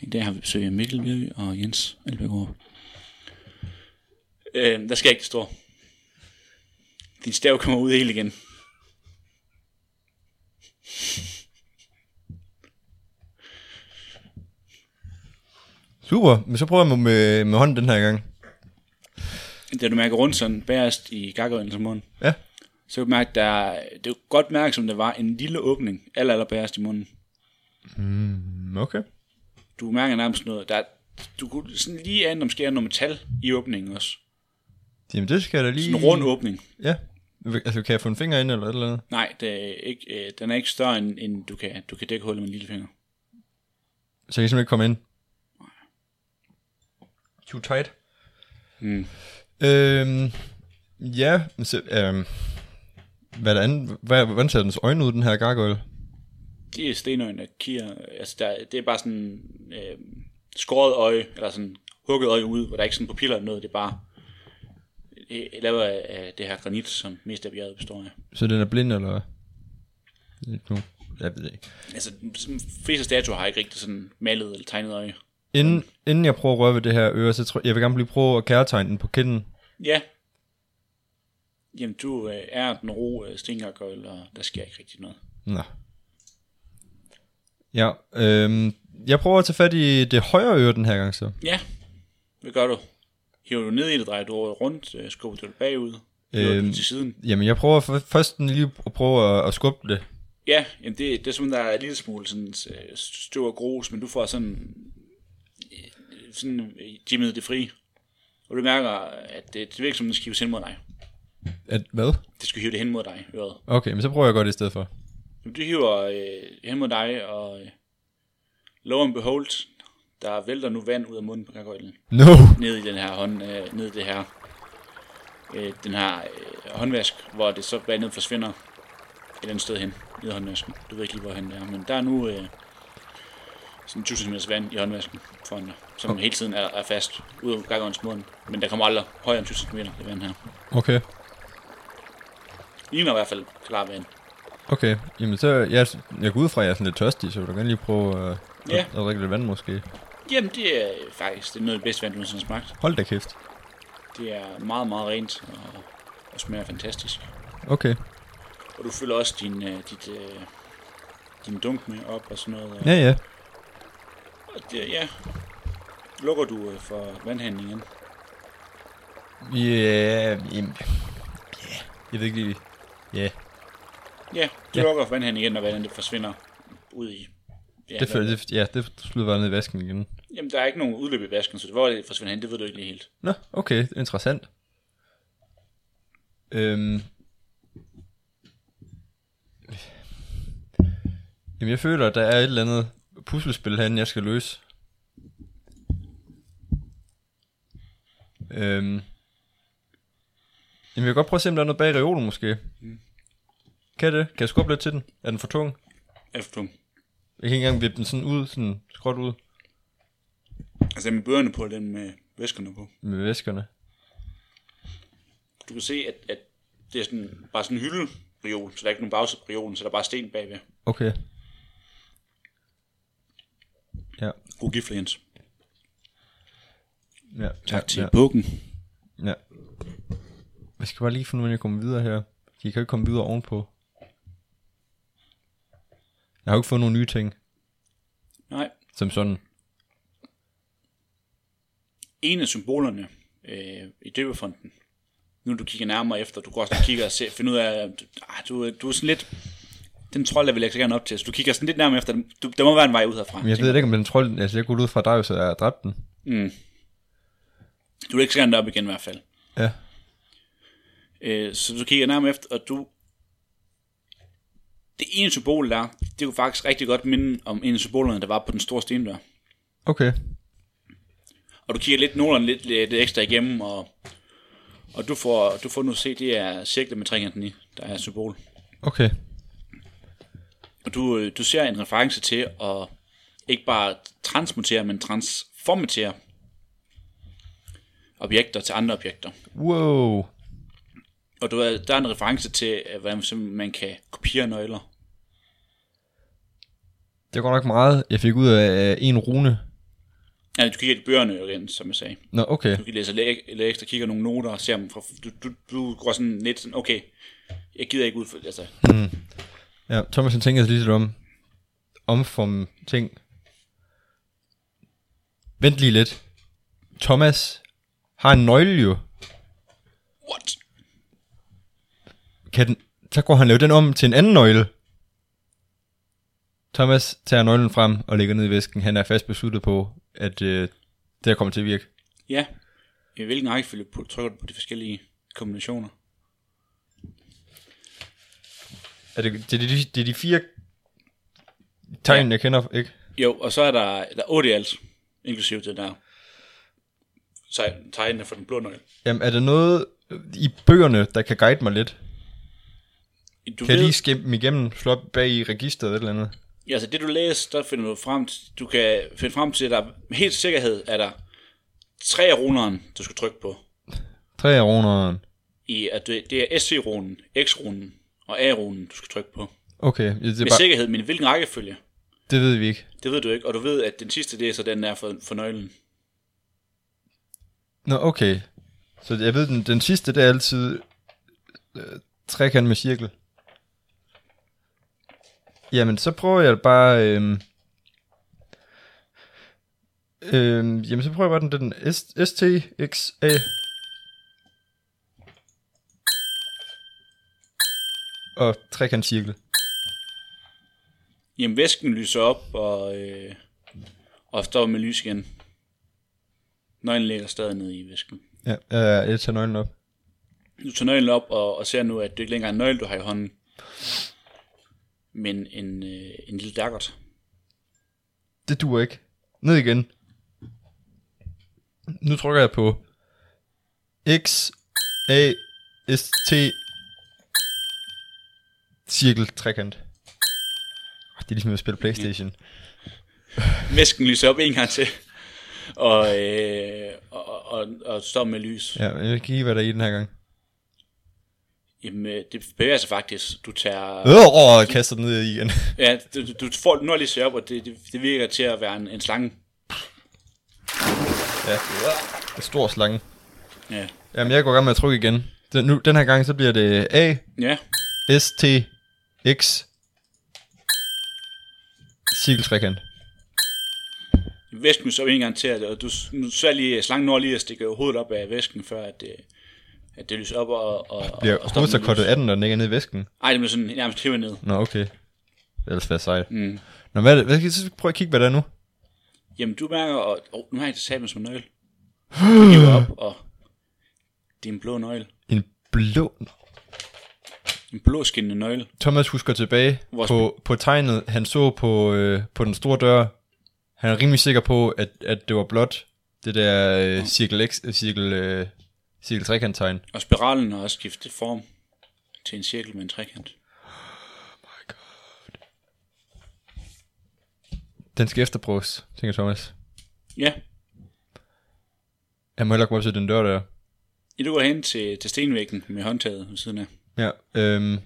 S4: I dag har vi besøg af Mikkel Virø og Jens Albergaard. Øh, der skal ikke det store. Din stav kommer ud helt igen.
S5: Super, men så prøver jeg med, med, med hånden den her gang.
S4: Da du mærker rundt sådan bagerst i gakkeøjlen som munden,
S5: Ja,
S4: så kan du mærke, at der, det er godt mærke, som der var en lille åbning, aller, aller bagerst i munden.
S5: mm, okay.
S4: Du mærker nærmest noget, der, du kunne sådan lige ane, om sker noget metal i åbningen også.
S5: Jamen det skal jeg da lige...
S4: Sådan en rund åbning.
S5: Ja. Altså, kan jeg få en finger ind eller et eller andet?
S4: Nej, det er ikke, øh, den er ikke større, end, end du, kan, du kan dække hullet med en lille finger.
S5: Så jeg kan simpelthen ikke komme ind. Too tight.
S4: Mm.
S5: Øhm, ja, men så, øhm, hvad er der andet? Hvad, hvordan ser dens øjne ud, den her gargoyle?
S4: De er stenøjne, der kigger, altså der, det er bare sådan øh, skåret øje, eller sådan hugget øje ud, hvor der er ikke sådan pupiller eller noget, det er bare det er lavet af af det her granit, som mest af bjerget består af.
S5: Så den er blind, eller hvad? Lidt nu. Jeg ved ikke.
S4: Altså, sådan fleste statuer har ikke rigtig sådan malet eller tegnet øje.
S5: Inden, inden jeg prøver at røre ved det her øre, så tror jeg, jeg vil gerne lige prøve at kærtegne den på kinden.
S4: Ja. Jamen, du øh, er den ro øh, stengakøjle, og der sker ikke rigtig noget.
S5: Nå. Ja, øhm, jeg prøver at tage fat i det højre øre den her gang så.
S4: Ja, hvad gør du? Hiver du ned i det, drejer du året rundt, øh, skubber du det bagud, hiver øhm.
S5: Øhm.
S4: du til siden.
S5: Jamen, jeg prøver f- først den lige at prøve at, at skubbe det.
S4: Ja, jamen det, det er som, der er en lille smule sådan, øh, støv og grus, men du får sådan, øh, sådan øh, jimmet det fri. Og du mærker, at det, det virker som, den skal hives hen mod dig.
S5: At, hvad?
S4: Det skal hive det hen mod dig, øret.
S5: Okay, men så prøver jeg godt i stedet for.
S4: Jamen, du hiver øh, hen mod dig, og øh, lo and behold, der vælter nu vand ud af munden på gargoylen.
S5: No!
S4: ned i den her hånd, øh, ned i det her, øh, den her øh, håndvask, hvor det så vandet forsvinder et eller andet sted hen, ned i håndvasken. Du ved ikke lige, hvorhen det er, men der er nu øh, sådan 1000 cm vand i håndvasken foran dig, som hele tiden er, er fast ud af gakkerens mund, men der kommer aldrig højere end 1000 cm, det vand her.
S5: Okay,
S4: Ligner i hvert fald klar vand.
S5: okay. Jamen, så jeg, jeg går ud fra, at jeg er sådan lidt tørstig, så vil du gerne lige prøve øh, at,
S4: Ja.
S5: at, drikke lidt vand måske.
S4: Jamen, det er øh, faktisk det er noget af det bedste vand, du nogensinde har smagt.
S5: Hold da kæft.
S4: Det er meget, meget rent og, og smager fantastisk.
S5: Okay.
S4: Og du fylder også din, øh, dit, øh, din dunk med op og sådan noget. Og,
S5: Ja, ja.
S4: Og Det, ja. Lukker du øh, for vandhanen igen?
S5: Ja, øh, jamen, ja. Jeg ved ikke lige. Ja,
S4: Ja, du ja.
S5: Ja.
S4: lukker for vandhanen igen, når vandet det forsvinder ud i... Ja,
S5: det,
S4: hvad-
S5: føler, det, ja, det slutter bare ned i vasken igen.
S4: Jamen, der er ikke nogen udløb i vasken, så hvor det forsvinder hen, det ved du ikke lige helt.
S5: Nå, okay, interessant. Øhm. Jamen, jeg føler, at der er et eller andet puslespil herinde, jeg skal løse. Øhm. Jamen, jeg vil godt prøve at se, om der er noget bag reolen, måske. Kan jeg det? Kan jeg skubbe lidt til den? Er den for tung?
S4: Efter du...
S5: Jeg kan ikke engang vippe den sådan ud, sådan skråt ud
S4: Altså, med bøgerne på, og den med væskerne på.
S5: med væskerne.
S4: Du kan se, at, at det er sådan, bare sådan en hyldereol, så der er ikke nogen bagside på reolen, så der er bare sten bagved.
S5: Okay. Ja,
S4: God gifle, Jens.
S5: ja,
S4: Tak til
S5: ja,
S4: bukken.
S5: ja, ja. Jeg skal bare lige finde ud af, om jeg kommer videre her. De kan jo ikke komme videre ovenpå. Jeg har jo ikke fået nogle nye ting,
S4: Nej,
S5: som sådan.
S4: en af symbolerne øh, i døbefonden, nu du kigger nærmere efter, du går også og kigger og ser, finder ud af, at du- ah, du, du er sådan lidt, den trold, jeg vil jeg så gerne op til, så du kigger sådan lidt nærmere efter, den. du, der må være en vej ud herfra.
S5: Men jeg ved ikke, om den trold... Altså, jeg går ud fra dig, så jeg har dræbt den.
S4: Du vil ikke så gerne op igen i hvert fald.
S5: Ja.
S4: Øh, så du kigger nærmere efter, og du... Det ene symbol der, det kunne faktisk rigtig godt minde om en af symbolerne, der var på den store stendør.
S5: Okay.
S4: Og du kigger lidt nogenlunde lidt, lidt ekstra igennem, og, og du, får, du får nu se, det er cirklet med trekanten i, der er symbol.
S5: Okay.
S4: Og du, øh, du ser en reference til at ikke bare transmutere, men transformatere objekter til andre objekter.
S5: Wow.
S4: Og du, ved, der er en reference til, øh, hvordan man simpelthen man kan kopiere nøgler.
S5: Det går nok meget, jeg fik ud af en rune.
S4: Ja, du kigger i bøgerne jo igen, som jeg sagde.
S5: Nå, okay.
S4: Du kan læse lidt lidt ekstra, kigger nogle noter og ser dem fra... Du, du, du går sådan lidt sådan, okay, jeg gider ikke ud for... Altså,
S5: Ja, Thomas han tænker sig lige lidt om. Omform ting. Vent lige lidt. Thomas har en nøgle jo.
S4: What?
S5: Kan den, så går han lave den om til en anden nøgle. Thomas tager nøglen frem og lægger ned i væsken. Han er fast besluttet på, at øh, det her kommer til at virke.
S4: Ja. I hvilken rækkefølge pu- trykker du på de forskellige kombinationer?
S5: Er det, det, er de, det er de fire tegn, ja. jeg kender, ikke?
S4: Jo, og så er der, der er 8 i alt, inklusive det der sej- tegnene for den blå nøgle.
S5: Jamen, er der noget i bøgerne, der kan guide mig lidt?
S4: Du
S5: Kan jeg
S4: ved,
S5: lige skimme dem igennem, slå op bag i registeret eller et eller andet?
S4: altså det du læser, der finder du frem til, du kan finde frem til, at der med helt sikkerhed er der tre af runeren, du skal trykke på.
S5: Tre af runeren.
S4: I, at det, det er SC-runen, X-runen og A-runen, du skal trykke på.
S5: Okay, ja, det, er
S4: Med
S5: bare,
S4: sikkerhed, men i hvilken rækkefølge?
S5: det ved vi ikke.
S4: Det ved du ikke, og du ved, at den sidste, det er så den der for, for nøglen.
S5: Nå, okay. Så jeg ved, den, den sidste, det er altid øh, trekant med cirkel. Jamen, så prøver jeg bare... Øhm, øhm, jamen, så prøver jeg bare den, den S, STXA. Og trekant cirkel.
S4: Jamen, væsken lyser op, og, øh, og står med lys igen. Nøglen ligger stadig nede i væsken.
S5: Ja, øh, jeg tager nøglen op.
S4: Du tager nøglen op og, og ser nu, at det ikke længere er en nøgle, du har i hånden, men en, øh, en lille dakkert.
S5: Det duer ikke. Ned igen. Nu trykker jeg på X A S T cirkel trekant. Ah, Det er ligesom at spille Playstation.
S4: Væsken lyser op en gang til, og, øh, og, og, og, og står med lys.
S5: Ja, jeg kan ikke, hvad der er i den her gang.
S4: Jamen, øh, det bevæger sig faktisk. Du tager...
S5: Øh, åh, jeg kaster den ned igen.
S4: Ja, du, du- du får, nu har lige set op, og det, det, det virker til at være en, en slange.
S5: ja. En stor slange.
S4: Ja.
S5: Jamen, jeg går i gang med at trykke igen. Den, nu, den her gang, så bliver det A,
S4: ja.
S5: S, T, X, cirkel trekant.
S4: væsken så en gang til, at- og du nu så lige, øh, slangen når lige at stikke hovedet op af væsken, før at, øh, at det lyser op og, og,
S5: Bliver
S4: og
S5: hovedet så kottet af den, når den ikke er nede i væsken?
S4: Nej, det bliver sådan nærmest hævet ned.
S5: Nå, okay. Det er ellers være sejt. Mm. Nå, hvad, er det- hvad skal vi prøve at kigge, hvad der er nu?
S4: Jamen, du mærker, og oh, nu har jeg det sammen som en nøgle. Du hiver op, og det er en blå nøgle.
S5: En blå...
S4: En blå skinnende nøgle.
S5: Thomas husker tilbage
S4: Vores-
S5: på, på tegnet, han så på, øh, på den store dør. Han er rimelig sikker på, at, at det var blåt. Det der øh, cirkel X, øh, cirkel, øh, cirkel trekanttegn.
S4: Og spiralen har også skiftet form til en cirkel med en trekant.
S5: Den skal efterprøves, tænker Thomas.
S4: Ja,
S5: Han må hellere gå op til den dør der.
S4: I du går hen til, til stenvæggen med håndtaget ved siden af.
S5: Ja, øhm,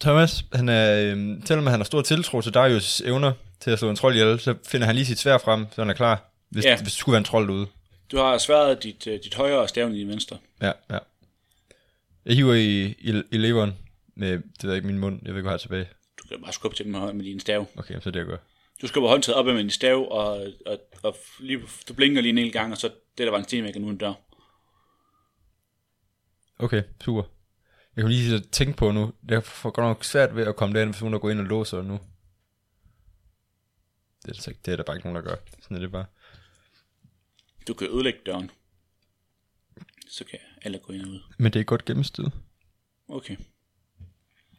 S5: Thomas, han er, øhm, selvom han har stor tiltro til Darius' evner til at slå en trold ihjel, så finder han lige sit svær frem, så han er klar, hvis,
S4: Ja.
S5: ja. hvis der skulle være en trold derude.
S4: Du har sværet dit, øh, dit højre og staven i din venstre.
S5: Ja, ja. Jeg hiver i, i, i leveren med, det ved jeg ikke, min mund, jeg ved ikke, hvad jeg har tilbage.
S4: Du kan bare skubbe til dem med, høj- med din stav.
S5: Okay, så det jeg gør.
S4: Du skubber håndtaget op ad med din stav, og, og, og lige, du blinker lige en hel gang, og så det, der var en stenvæg, er nu en dør.
S5: Okay, super. Jeg kan lige sidde og tænke på nu, jeg får godt nok svært ved at komme derind, hvis nogen der går ind og låser nu. Det er, altså ikke- det er der bare ikke nogen, der gør. Sådan er det bare.
S4: Du kan ødelægge døren. Så kan alle gå ind og ud.
S5: Men det er godt gennemstød.
S4: Okay.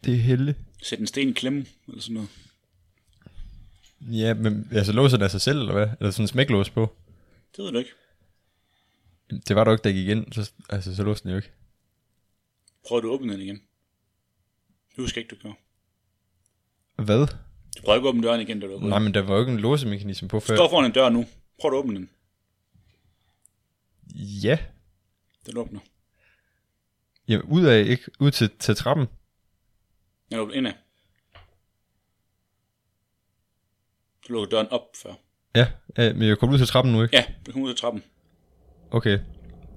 S5: Det er heldigt.
S4: Sæt en sten i klemme, eller sådan noget.
S5: Ja, men altså låser den af sig selv, eller hvad? Eller sådan en smæklås på?
S4: Det ved du ikke.
S5: Det var der jo ikke, der gik ind, så, altså så låste den jo ikke.
S4: Prøver du at åbne den igen? Du husker ikke, du gjorde.
S5: Hvad?
S4: Du prøver ikke at åbne døren igen, da du er
S5: Nej,
S4: gået.
S5: men der var jo ikke en låsemekanisme på
S4: Du
S5: før.
S4: står foran en dør nu. Prøv at åbne den.
S5: Ja.
S4: Den åbner.
S5: Jamen, ud af, ikke? Ud til, til trappen.
S4: Den åbner indad. Du lukker døren op før.
S5: Ja, ja men jeg kom ud til trappen nu, ikke?
S4: Ja, du kommer ud af trappen.
S5: Okay.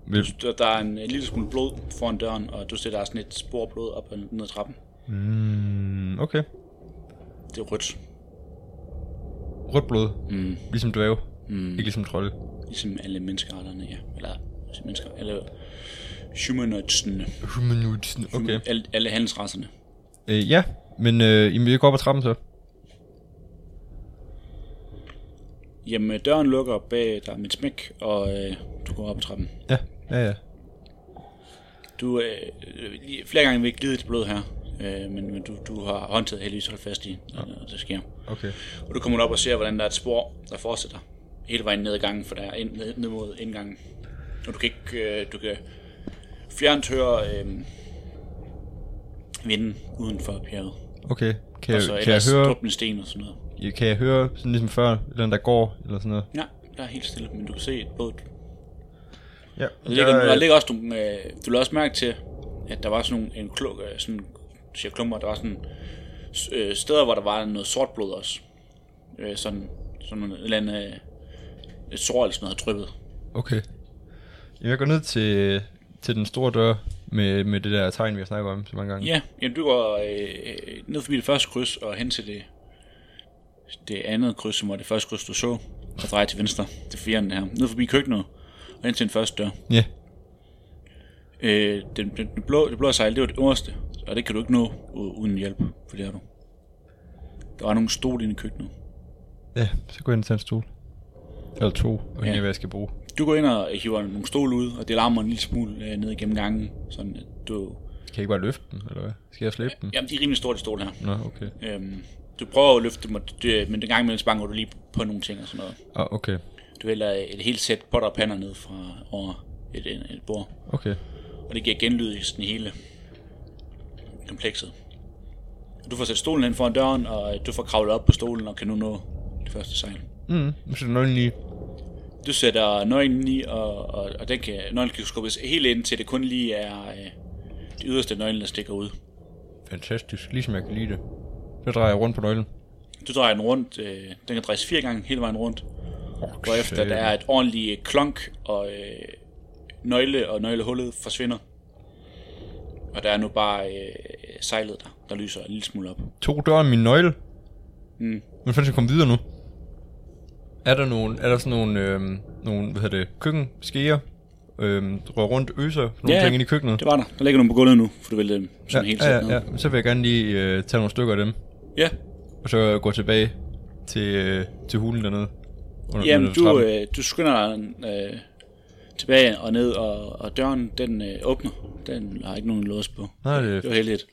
S5: Vil,
S4: Der, der er en, en lille smule blod foran døren, og du ser, der er sådan et spor af blod op ad ned ad trappen.
S5: mm, okay.
S4: Det er rødt.
S5: Rødt blod. Mm. Ligesom dvæve. Mm. Ikke ligesom trolde.
S4: Ligesom alle menneskearterne, ja. Eller ligesom mennesker, alle humanoidsene.
S5: Humanudsen, okay.
S4: Alle, alle handelsrasserne.
S5: Øh, ja, men øh, jamen, vi går op ad trappen så.
S4: Jamen, øh, døren lukker bag dig med et smæk, og øh, du går op ad trappen.
S5: Ja, ja, ja.
S4: Du, øh, lige- flere gange vil glide til blod her, øh, men, men du, du har håndtaget heldigvis holdt fast i, når ja. det sker.
S5: Okay.
S4: Og du kommer du op og ser, hvordan der er et spor, der fortsætter hele vejen ned ad gangen, for der er ind, ned, ned mod indgangen. Og du kan ikke, øh, du kan fjernt høre øh, vinden uden for bjerget.
S5: Okay. Kan
S4: Og
S5: jeg,
S4: så
S5: kan jeg
S4: ellers
S5: høre,
S4: drukne sten og sådan noget.
S5: ja, kan jeg høre sådan ligesom før, eller der går, eller sådan noget?
S4: Ja, der er helt stille, men du kan se et båd.
S5: Ja.
S4: Der ligger, der ligger også nogle, øh, du lader også mærke til, at der var sådan nogle en kluk, øh, sådan, du siger klumper, der var sådan s- øh, steder, hvor der var noget sort blod også. Øh, sådan, sådan en eller anden, øh, et sår eller sådan noget, dryppet.
S5: Okay. Jamen, jeg går ned til, til den store dør med, med det der tegn, vi har snakket om så mange gange.
S4: Ja, jamen du går øh, øh, ned forbi det første kryds og hen til det, det andet kryds, som var det første kryds, du så, og drejer til venstre, det fjerde her. Ned forbi køkkenet og hen til den første dør.
S5: Ja.
S4: Øh, den, den, den blå, det blå sejl, det var det øverste, og det kan du ikke nå u- uden hjælp, for det har du. Der var nogle stol inde i køkkenet.
S5: Ja, så går jeg ind til en stol. Eller to, og ja.
S4: Ja.
S5: hvad jeg skal bruge.
S4: Du går ind og hiver nogle stol ud, og det larmer en lille smule øh, ned igennem gangen, sådan at du...
S5: Kan jeg ikke bare løfte dem, eller hvad? Skal jeg slæbe dem?
S4: Jamen, de er rimelig store, de stol her.
S5: Nå, okay.
S4: Øhm, du prøver at løfte dem, og det, men den gang imellem så banker du lige på nogle ting og sådan noget.
S5: Ah, okay.
S4: Du hælder et helt sæt potter og pander ned fra over et, et, et bord,
S5: Okay.
S4: og det giver genlyd i sådan hele komplekset. Du får sat stolen hen foran døren, og øh, du får kravlet op på stolen og kan nu nå det første sejl.
S5: Mm, så er der nøglen lige.
S4: Du sætter nøglen i, og, og, og den kan, nøglen kan skubbes helt ind til det kun lige er øh, det yderste af nøglen, der stikker ud.
S5: Fantastisk, ligesom jeg kan lide det. Så drejer jeg rundt på nøglen.
S4: Du drejer den rundt, øh, den kan drejes fire gange hele vejen rundt,
S5: Oh,
S4: hvorefter der er et ordentligt klonk, og øh, nøgle og nøglehullet forsvinder. Og der er nu bare øh, sejlet der, der lyser en lille smule op.
S5: To døre min nøgle.
S4: Mm.
S5: Men fanden skal jeg komme videre nu? Er der nogle, er der sådan nogle, øhm, nogle hvad hedder det, køkkenskeer? Øhm, rør rundt øser, sådan
S4: Ja,
S5: nogle ja,
S4: ja.
S5: ting ind i køkkenet.
S4: Det var der. Der ligger nogle på gulvet nu, for du vælger dem sådan helt
S5: ja,
S4: sæt
S5: ja,
S4: ned.
S5: ja, ja. Så vil jeg gerne lige øh, tage nogle stykker af dem,
S4: ja.
S5: og så gå tilbage til, øh, til hulen dernede. Under,
S4: Jamen,
S5: under
S4: du,
S5: trappen.
S4: øh, du skynder dig øh, tilbage og ned, og, og døren, den øh, åbner. Den har ikke nogen lås på.
S5: Nej, det er-
S4: det var heldigt.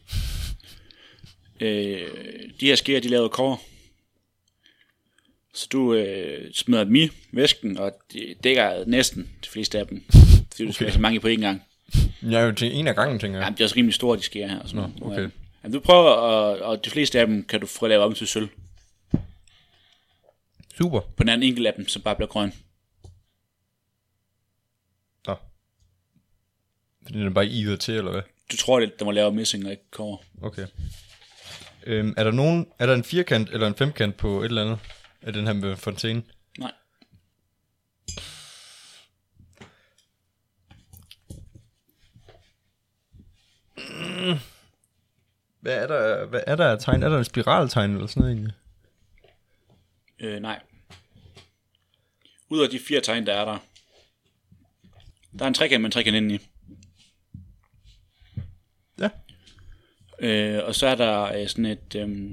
S4: Øh, de her skeer, de lavede kår. Så du øh, smider dem i væsken, og det dækker næsten de fleste af dem. Fordi du okay. skal have så mange på én gang. øh,
S5: Jeg er jo til en af gangen, tænker jeg.
S4: Jamen, det er også rimelig store, de sker her. Og sådan
S5: Nå,
S4: noget.
S5: okay.
S4: Jamen, du prøver, og, og de fleste af dem kan du få lavet om til sølv.
S5: Super.
S4: På den anden enkelt af dem, som bare bliver grøn.
S5: Nå. Fordi den er bare ivet til, eller hvad?
S4: Du tror, det, den var lavet af messing og ikke kår.
S5: Okay. Øhm, er der nogen, er der en firkant eller en femkant på et eller andet? Er den her med fontæne?
S4: Nej.
S5: Hvad er der, hvad er der af tegn? Er der en spiraltegn eller sådan noget egentlig?
S4: Øh, nej. Ud af de fire tegn, der er der. Der er en trekant med en trekant indeni.
S5: Ja.
S4: Øh, og så er der øh, sådan et... Øh,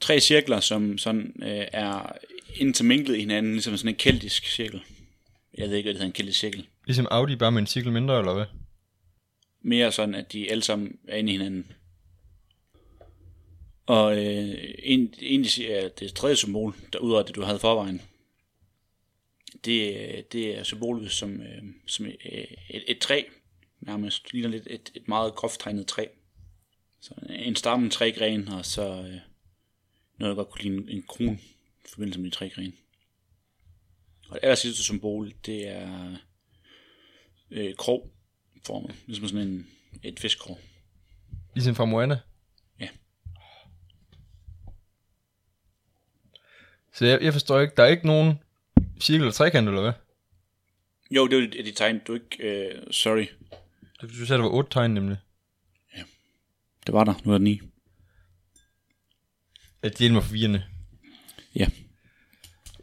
S4: tre cirkler, som sådan øh, er interminklet i hinanden, ligesom sådan en keltisk cirkel. Jeg ved ikke, hvad det hedder, en keltisk cirkel.
S5: Ligesom Audi, bare med en cirkel mindre, eller hvad?
S4: Mere sådan, at de alle sammen er inde i hinanden. Og øh, en, egentlig siger jeg, det tredje symbol, der ud af det, du havde i forvejen, det, øh, det er symbolet som, øh, som øh, et, et træ, nærmest. Det ligner lidt et, et meget groft tegnet træ. Så en stamme, en trægren, og så øh, noget, der godt kunne ligne en, en kron i forbindelse med de tre grene. Og det aller sidste symbol, det er øh, krog formet, ligesom sådan en, et fiskkrog.
S5: Ligesom fra Moana?
S4: Ja.
S5: Så jeg, jeg forstår ikke, der er ikke nogen cirkel eller trekant, eller hvad?
S4: Jo, det er jo de tegn, du ikke... Øh, sorry.
S5: Altså, Du sagde, der var otte tegn, nemlig.
S4: Det var der, nu er den i.
S5: At det er mig forvirrende.
S4: Ja.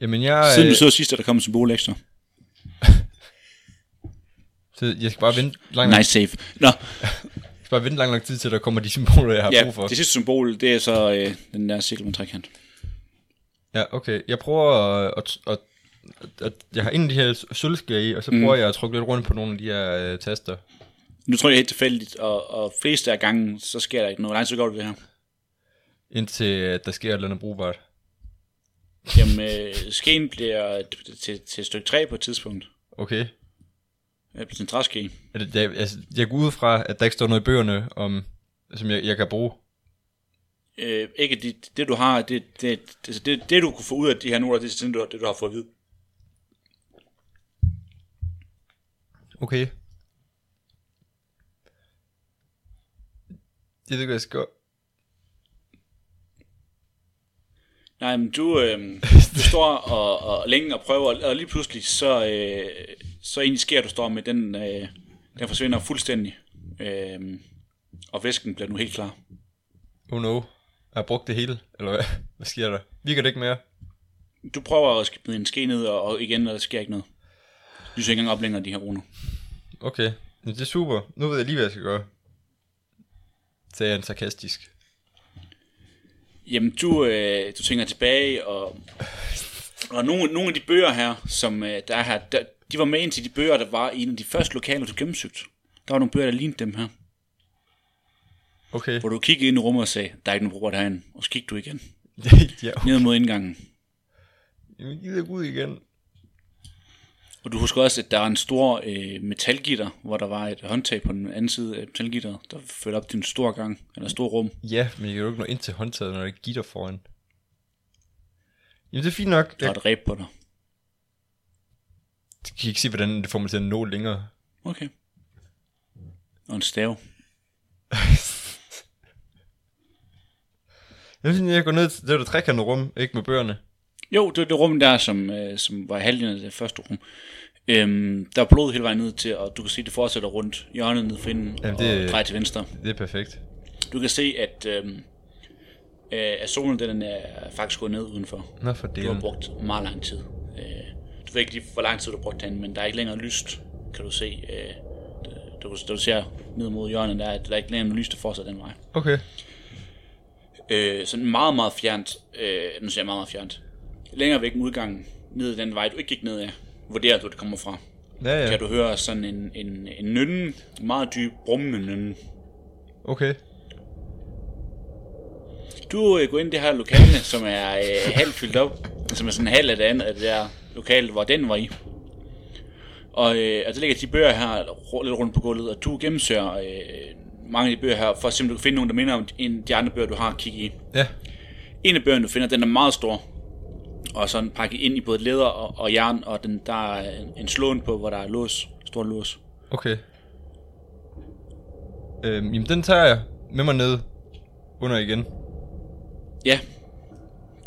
S5: Jamen, jeg,
S4: Siden
S5: øh,
S4: vi så sidst, er der kommet symbol ekstra.
S5: så jeg skal bare vente lang,
S4: Nice save. Nå,
S5: jeg skal bare vente lang, lang tid til, der kommer de symboler, jeg har
S4: ja,
S5: brug for.
S4: det sidste symbol, det er så øh, den der cirkel med trekant.
S5: Ja, okay. Jeg prøver at... at, at, at jeg har en af de her sølvskære i, og så
S4: Mm.
S5: prøver jeg at trykke lidt rundt på nogle af de her øh, taster.
S4: Nu tror jeg helt tilfældigt, og, og fleste af gangen, så sker der ikke noget. Nej, så går det det her.
S5: Indtil at der sker et eller andet brugbart.
S4: Jamen, øh, skeen bliver til, til stykke 3 på et tidspunkt.
S5: Okay.
S4: Øh, bliver til en træske.
S5: Er det- Jeg, altså, jeg går ud fra, at der ikke står noget i bøgerne, om, som jeg, jeg kan bruge.
S4: Øh, ikke det, det, du har, det, det, det, det, det, du kunne få ud af de her noter, det er sådan, du, det, du har fået at vide.
S5: Okay. Jeg ved ikke, hvad jeg skal gøre.
S4: Nej, men du, øh, du står og, og længe og prøver, og lige pludselig så, øh, så egentlig sker du står med, den, øh, den forsvinder fuldstændig. Øh, og væsken bliver nu helt klar.
S5: Oh no. Jeg har brugt det hele, eller hvad? Hvad sker der? Virker det ikke mere?
S4: Du prøver at skide en ske ned, og, og igen, og der sker ikke noget. Du ser ikke engang op længere, de her runer.
S5: Okay. Men det er super. Nu ved jeg lige, hvad jeg skal gøre. Sagde han sarkastisk.
S4: Jamen, du, øh, du tænker tilbage, og, og nogle, nogle af de bøger her, som øh, der er her, der, de var med ind til de bøger, der var i en af de første lokaler, du gennemsøgte. Der var nogle bøger, der lignede dem her.
S5: Okay.
S4: Hvor du kiggede ind i rummet og sagde, der er ikke nogen bruger derinde. Og så gik du igen,
S5: ja,
S4: ned mod indgangen.
S5: Jamen, gider ikke ud igen.
S4: Og du husker også, at der er en stor øh, metalgitter, hvor der var et håndtag på den anden side af metalgitteret, der førte op til en stor gang, eller stor rum.
S5: Ja, men jeg kan jo ikke nå ind til håndtaget, når der ikke gitter foran. Jamen, det er fint nok.
S4: Der er
S5: Jeg
S4: et ræb på dig.
S5: kan ikke se, hvordan det får mig til at nå længere.
S4: Okay. Og en stav.
S5: Jeg synes, jeg går ned til det der trekantede rum, ikke med bøgerne.
S4: Jo, det var det rum der, som, øh, som var halvdelen af det første rum. Øhm, der er blod hele vejen ned til, og du kan se, det fortsætter rundt hjørnet ned for inden,
S5: Jamen,
S4: Jamen,
S5: det-
S4: det... og drejer til venstre.
S5: Det er perfekt.
S4: Du kan se, at, øhm, øh, at solen den er faktisk gået ned udenfor.
S5: Nå for
S4: Du har
S5: delen.
S4: brugt meget lang tid. Øh, du ved ikke lige, hvor lang tid du har brugt den, men der er ikke længere lyst, kan du se. Øh, du, du, du ser ned mod hjørnet, der er, der er ikke længere lyst, der fortsætter den vej.
S5: Okay.
S4: Øh, sådan meget, meget fjernt. Øh, nu siger jeg meget, meget fjernt. Længere væk end udgangen, ned ad den vej, du ikke gik ned af, vurderer du, at det kommer fra.
S5: Ja,
S4: Ja.
S5: ja.
S4: Kan du høre sådan en, en, en nynne, en meget dyb, brummende nynne.
S5: Okay.
S4: Du øh, går ind i det her lokale, som er øh, halvt fyldt op, som er sådan halvt af det andet af det der lokale, hvor den var i. Og, øh, og der ligger de bøger her ru- lidt rundt på gulvet, og du gennemsøger øh, mange af de bøger her, for at se om du kan finde nogen, der minder om en af de andre bøger, du har kigget i.
S5: Ja.
S4: En af bøgerne, du finder, den er meget stor, og sådan pakket ind i både læder og, og jern, og den, der er en, en slåen på, hvor der er lås, stor lås.
S5: Okay. Øhm, jamen, den tager jeg med mig ned under igen.
S4: Ja,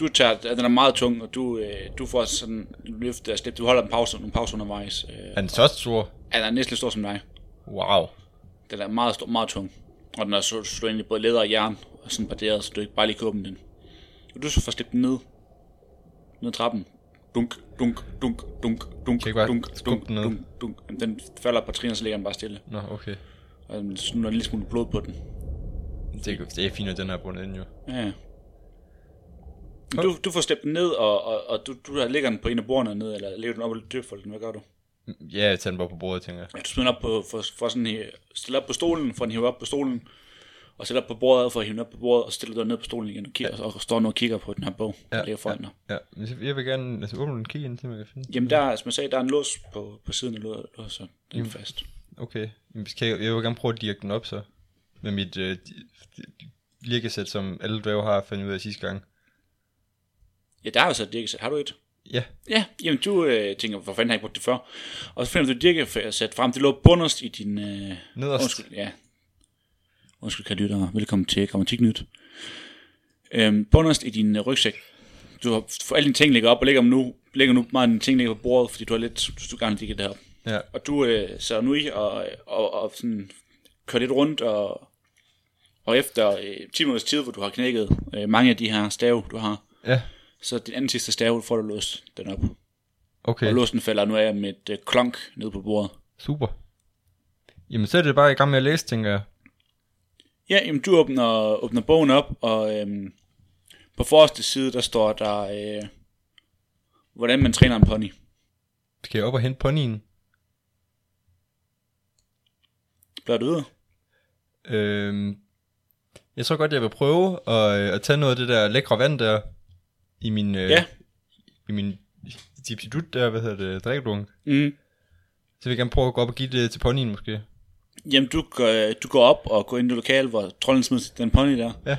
S4: du tager, den er meget tung, og du, øh, du får sådan løft og slip. Du holder en pause, en pause undervejs. Øh,
S5: Er den så stor?
S4: den er næsten lige stor som dig.
S5: Wow.
S4: Den er meget, stor, meget tung. Og den er så slået ind i både læder og jern, og sådan barderet, så du ikke bare lige kan åbne den. Og du så får slippet den ned. Ned ad trappen. Dunk, dunk, dunk, dunk, dunk,
S5: ikke bare
S4: dunk,
S5: skubbe
S4: dunk,
S5: den ned?
S4: dunk, dunk. Jamen, den falder på trin, og så ligger den bare stille.
S5: Nå, okay.
S4: Og den snuller en lille smule blod på den.
S5: Det, det er fint, at den her bundet ind, jo.
S4: Ja. ja. Men Du, du får slæbt den ned, og, og, og du, du lægger den på en af bordene ned, eller lægger den op og dyrfolden. Hvad gør du?
S5: Ja, jeg tager den bare på bordet, tænker jeg.
S4: Ja, du smider den op på, for, for sådan, her- stiller op på stolen, for den hiver op på stolen, og stiller op på bordet, for at hive den op på bordet, og stiller den ned på stolen igen, og, kigger, ja. og står nu og kigger på den her bog, ja. der ligger foran dig.
S5: Ja, men så- jeg vil gerne altså, åbne en kig ind, til man kan finde den.
S4: Jamen der, som jeg sagde, der er en lås på, på siden af lå- låsen, den er fast.
S5: Okay. Jamen, skal jeg, jeg vil gerne prøve at dirke den op, så. Med mit øh, di- di- lirkesæt, som alle dræver har fundet ud af sidste gang.
S4: Ja, der er jo så et dirkesæt, har du et?
S5: Ja,
S4: Ja, jamen du øh, tænker, hvor fanden har jeg ikke brugt det før? Og så finder du et dirkesæt frem, det lå bunderst i din... Øh,
S5: nederst.
S4: Undskyld, ja. Undskyld, kan lyttere. Velkommen til Grammatiknyt. Øhm, bunderst i din øh, rygsæk. Du har for alle dine ting ligger op, og lægger dem nu. Lægger nu meget af dine ting ligger på bordet, fordi du har lidt, du, du gerne ligger det her.
S5: Ja,
S4: Og du øh, sidder nu i og, og, og sådan, kører lidt rundt, og, og efter øh, 10 minutters tid, hvor du har knækket øh, mange af de her stave, du har,
S5: ja.
S4: Så din anden sidste stave får du låst den op.
S5: Okay,
S4: Og låsen falder nu af med et øh, klonk ned på bordet.
S5: super. Jamen, så er det bare i gang med at læse, tænker jeg.
S4: Ja, jamen, du åbner, åbner bogen op, og øhm, på forreste side, der står der, øh, hvordan man træner en pony.
S5: Skal jeg op og hente ponyen?
S4: Bliver du ud?
S5: Øhm, jeg tror godt, jeg vil prøve at, øh, at tage noget af det der lækre vand der i min... Øh,
S4: Ja.
S5: I min dipsidut der, hvad hedder det, drikkedunk.
S4: Mm.
S5: Så vil jeg gerne prøve at gå op og give det til ponyen måske.
S4: Jamen, du, går, du går op og går ind i lokalet, hvor trolden smider den pony der.
S5: Ja.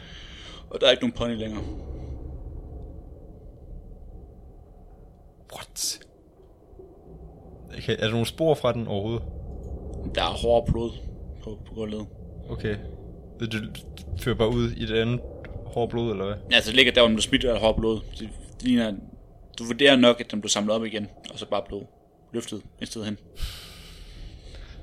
S4: Og der er ikke nogen pony længere.
S5: What? Okay, er der nogle spor fra den overhovedet?
S4: Der er hårdt blod på, på gulvet.
S5: Okay. Det, det, det fører bare ud i det andet hårde blod, eller hvad?
S4: Altså, det ligger der, hvor den blev smidt, og der er hårdt blod. Det, det ligner, du vurderer nok, at den blev samlet op igen, og så bare blev løftet et sted hen.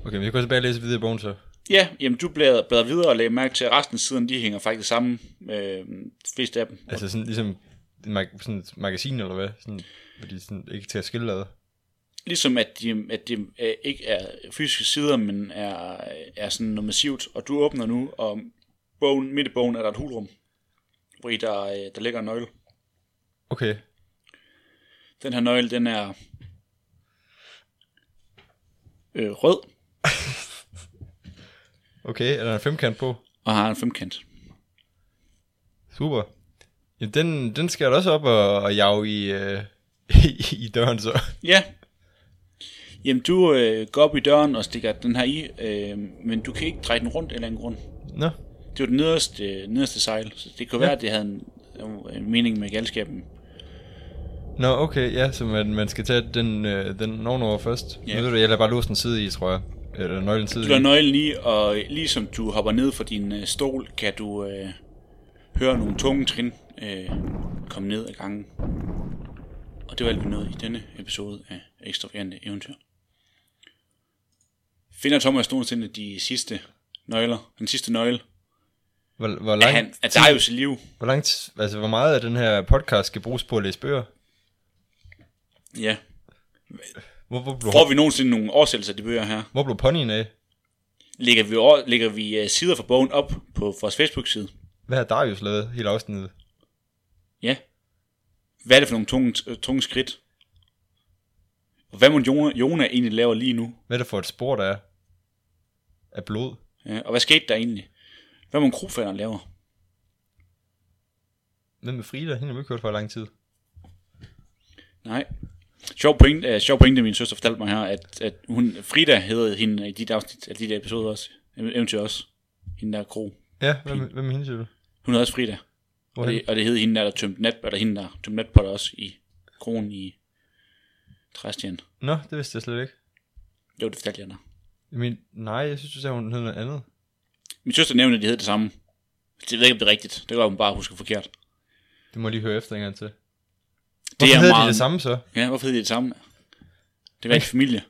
S5: Okay, men jeg går tilbage og læse videre i bogen så.
S4: Ja, jamen du bladrer, bladrer videre og lægger mærke til, at resten af siderne, de hænger faktisk sammen. Øh, de fleste af dem.
S5: Altså sådan ligesom en mag- sådan et magasin, eller hvad? Sådan, hvor de sådan ikke er til at skille ad.
S4: Ligesom at de, at de øh, ikke er fysiske sider, men er, er sådan noget massivt. Og du åbner nu, og bogen, midt i bogen er der et hulrum, hvor i der, øh, der ligger en nøgle.
S5: Okay.
S4: Den her nøgle, den er øh, rød
S5: Okay, er der en femkant på?
S4: og har en femkant.
S5: Super. Ja, den, den skal jeg da også op og, og jage i, øh, i, i døren så.
S4: Ja. Jamen, du øh, går op i døren og stikker den her i, øh, men du kan ikke dreje den rundt af en eller anden grund.
S5: Nå,
S4: Det var det nederste, nederste sejl, så det kunne ja. være, at det havde en, en mening med galskaben.
S5: Nå okay, ja, så man, man skal tage den, øh, den ovenover først.
S4: Ja.
S5: Nu ved du, jeg lader bare låsen sidde i, tror jeg. Eller nøglen
S4: Du
S5: sidde
S4: lader
S5: i.
S4: nøglen i, og ligesom du hopper ned fra din øh, stol, kan du øh, høre nogle tunge trin øh, komme ned ad gangen. Og det var alt, vi nåede i denne episode af Ekstravagante Eventyr. Finder Thomas nogensinde de sidste nøgler, den sidste nøgle
S5: Hvor, hvor
S4: af,
S5: langt,
S4: han, altså, af Darius i liv?
S5: hvor langt, altså hvor meget af den her podcast skal bruges på at læse bøger?
S4: Ja.
S5: Hvor, hvor, blev,
S4: Får vi nogensinde nogle oversættelser af de bøger her?
S5: hvor blev ponyen af?
S4: lægger vi, over, lægger vi øh, sider fra bogen op på vores Facebook-side.
S5: Hvad har Darius lavet hele afsnittet?
S4: Ja. Hvad er det for nogle tunge, øh, tunge skridt? Og hvad må Jona, Jona egentlig laver lige nu?
S5: Hvad er det for et spor, der er? Af blod?
S4: Ja, og hvad skete der egentlig? Hvad må krofatteren laver?
S5: Hvem med Frida? Hende har vi ikke hørt for i lang tid.
S4: Nej. Sjov point, øh, sjov pointe, min søster fortalte mig her, at, at hun, Frida hedder hende øh, i de der, afsnit, af de der episoder også. Ev- Eventuelt også. Hende der kro.
S5: Ja, hvem, hvem er hende, siger du?
S4: Hun hedder også Frida. Og
S5: Hvorhen?
S4: det, og det hed hende der, der tømte nat, eller hende der tømte nat på dig også i kronen i Træstjen.
S5: Nå, det vidste jeg slet ikke.
S4: Jo, det fortalte jeg dig.
S5: Jeg men, nej, jeg synes, du sagde, hun hed noget andet.
S4: Min søster nævnte, at de hed det samme. Det ved jeg ikke, om det er rigtigt. Det gør hun bare husker forkert. Det
S5: Det må jeg lige høre efter en gang til. Hvorfor
S4: Hvorfor
S5: hedder de det samme så?
S4: Ja, hvorfor hedder de det samme? Det var ikke familie.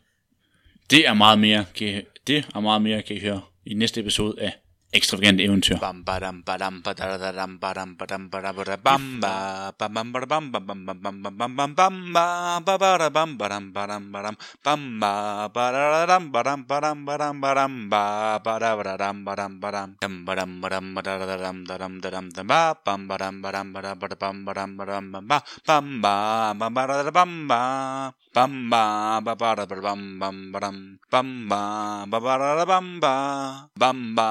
S4: Det er meget mere, kan I, det er meget mere, kan I høre i næste episode af Ekstravagante Eventyr.
S3: Bam badam badam badadadam badam badam badabada bam ba bam bam bada bam bam bam bam bam bam bam bam bam ba ba bada bam badam badam badam bam ba badadadam badam badam badam badam ba bada badadam badam badam dam badam badam badadadam dadam dadam dam ba bam badam badam bada bada bam badam badam bam ba bam ba bam badada bam ba bam ba ba bada bada bam bam badam bam ba ba bada bam ba bam ba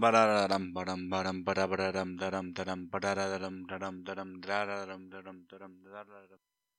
S3: badadadam badam badam badabadadam dadam dadam badadadam dadam dadam dadadadam dadam dadam dadadadam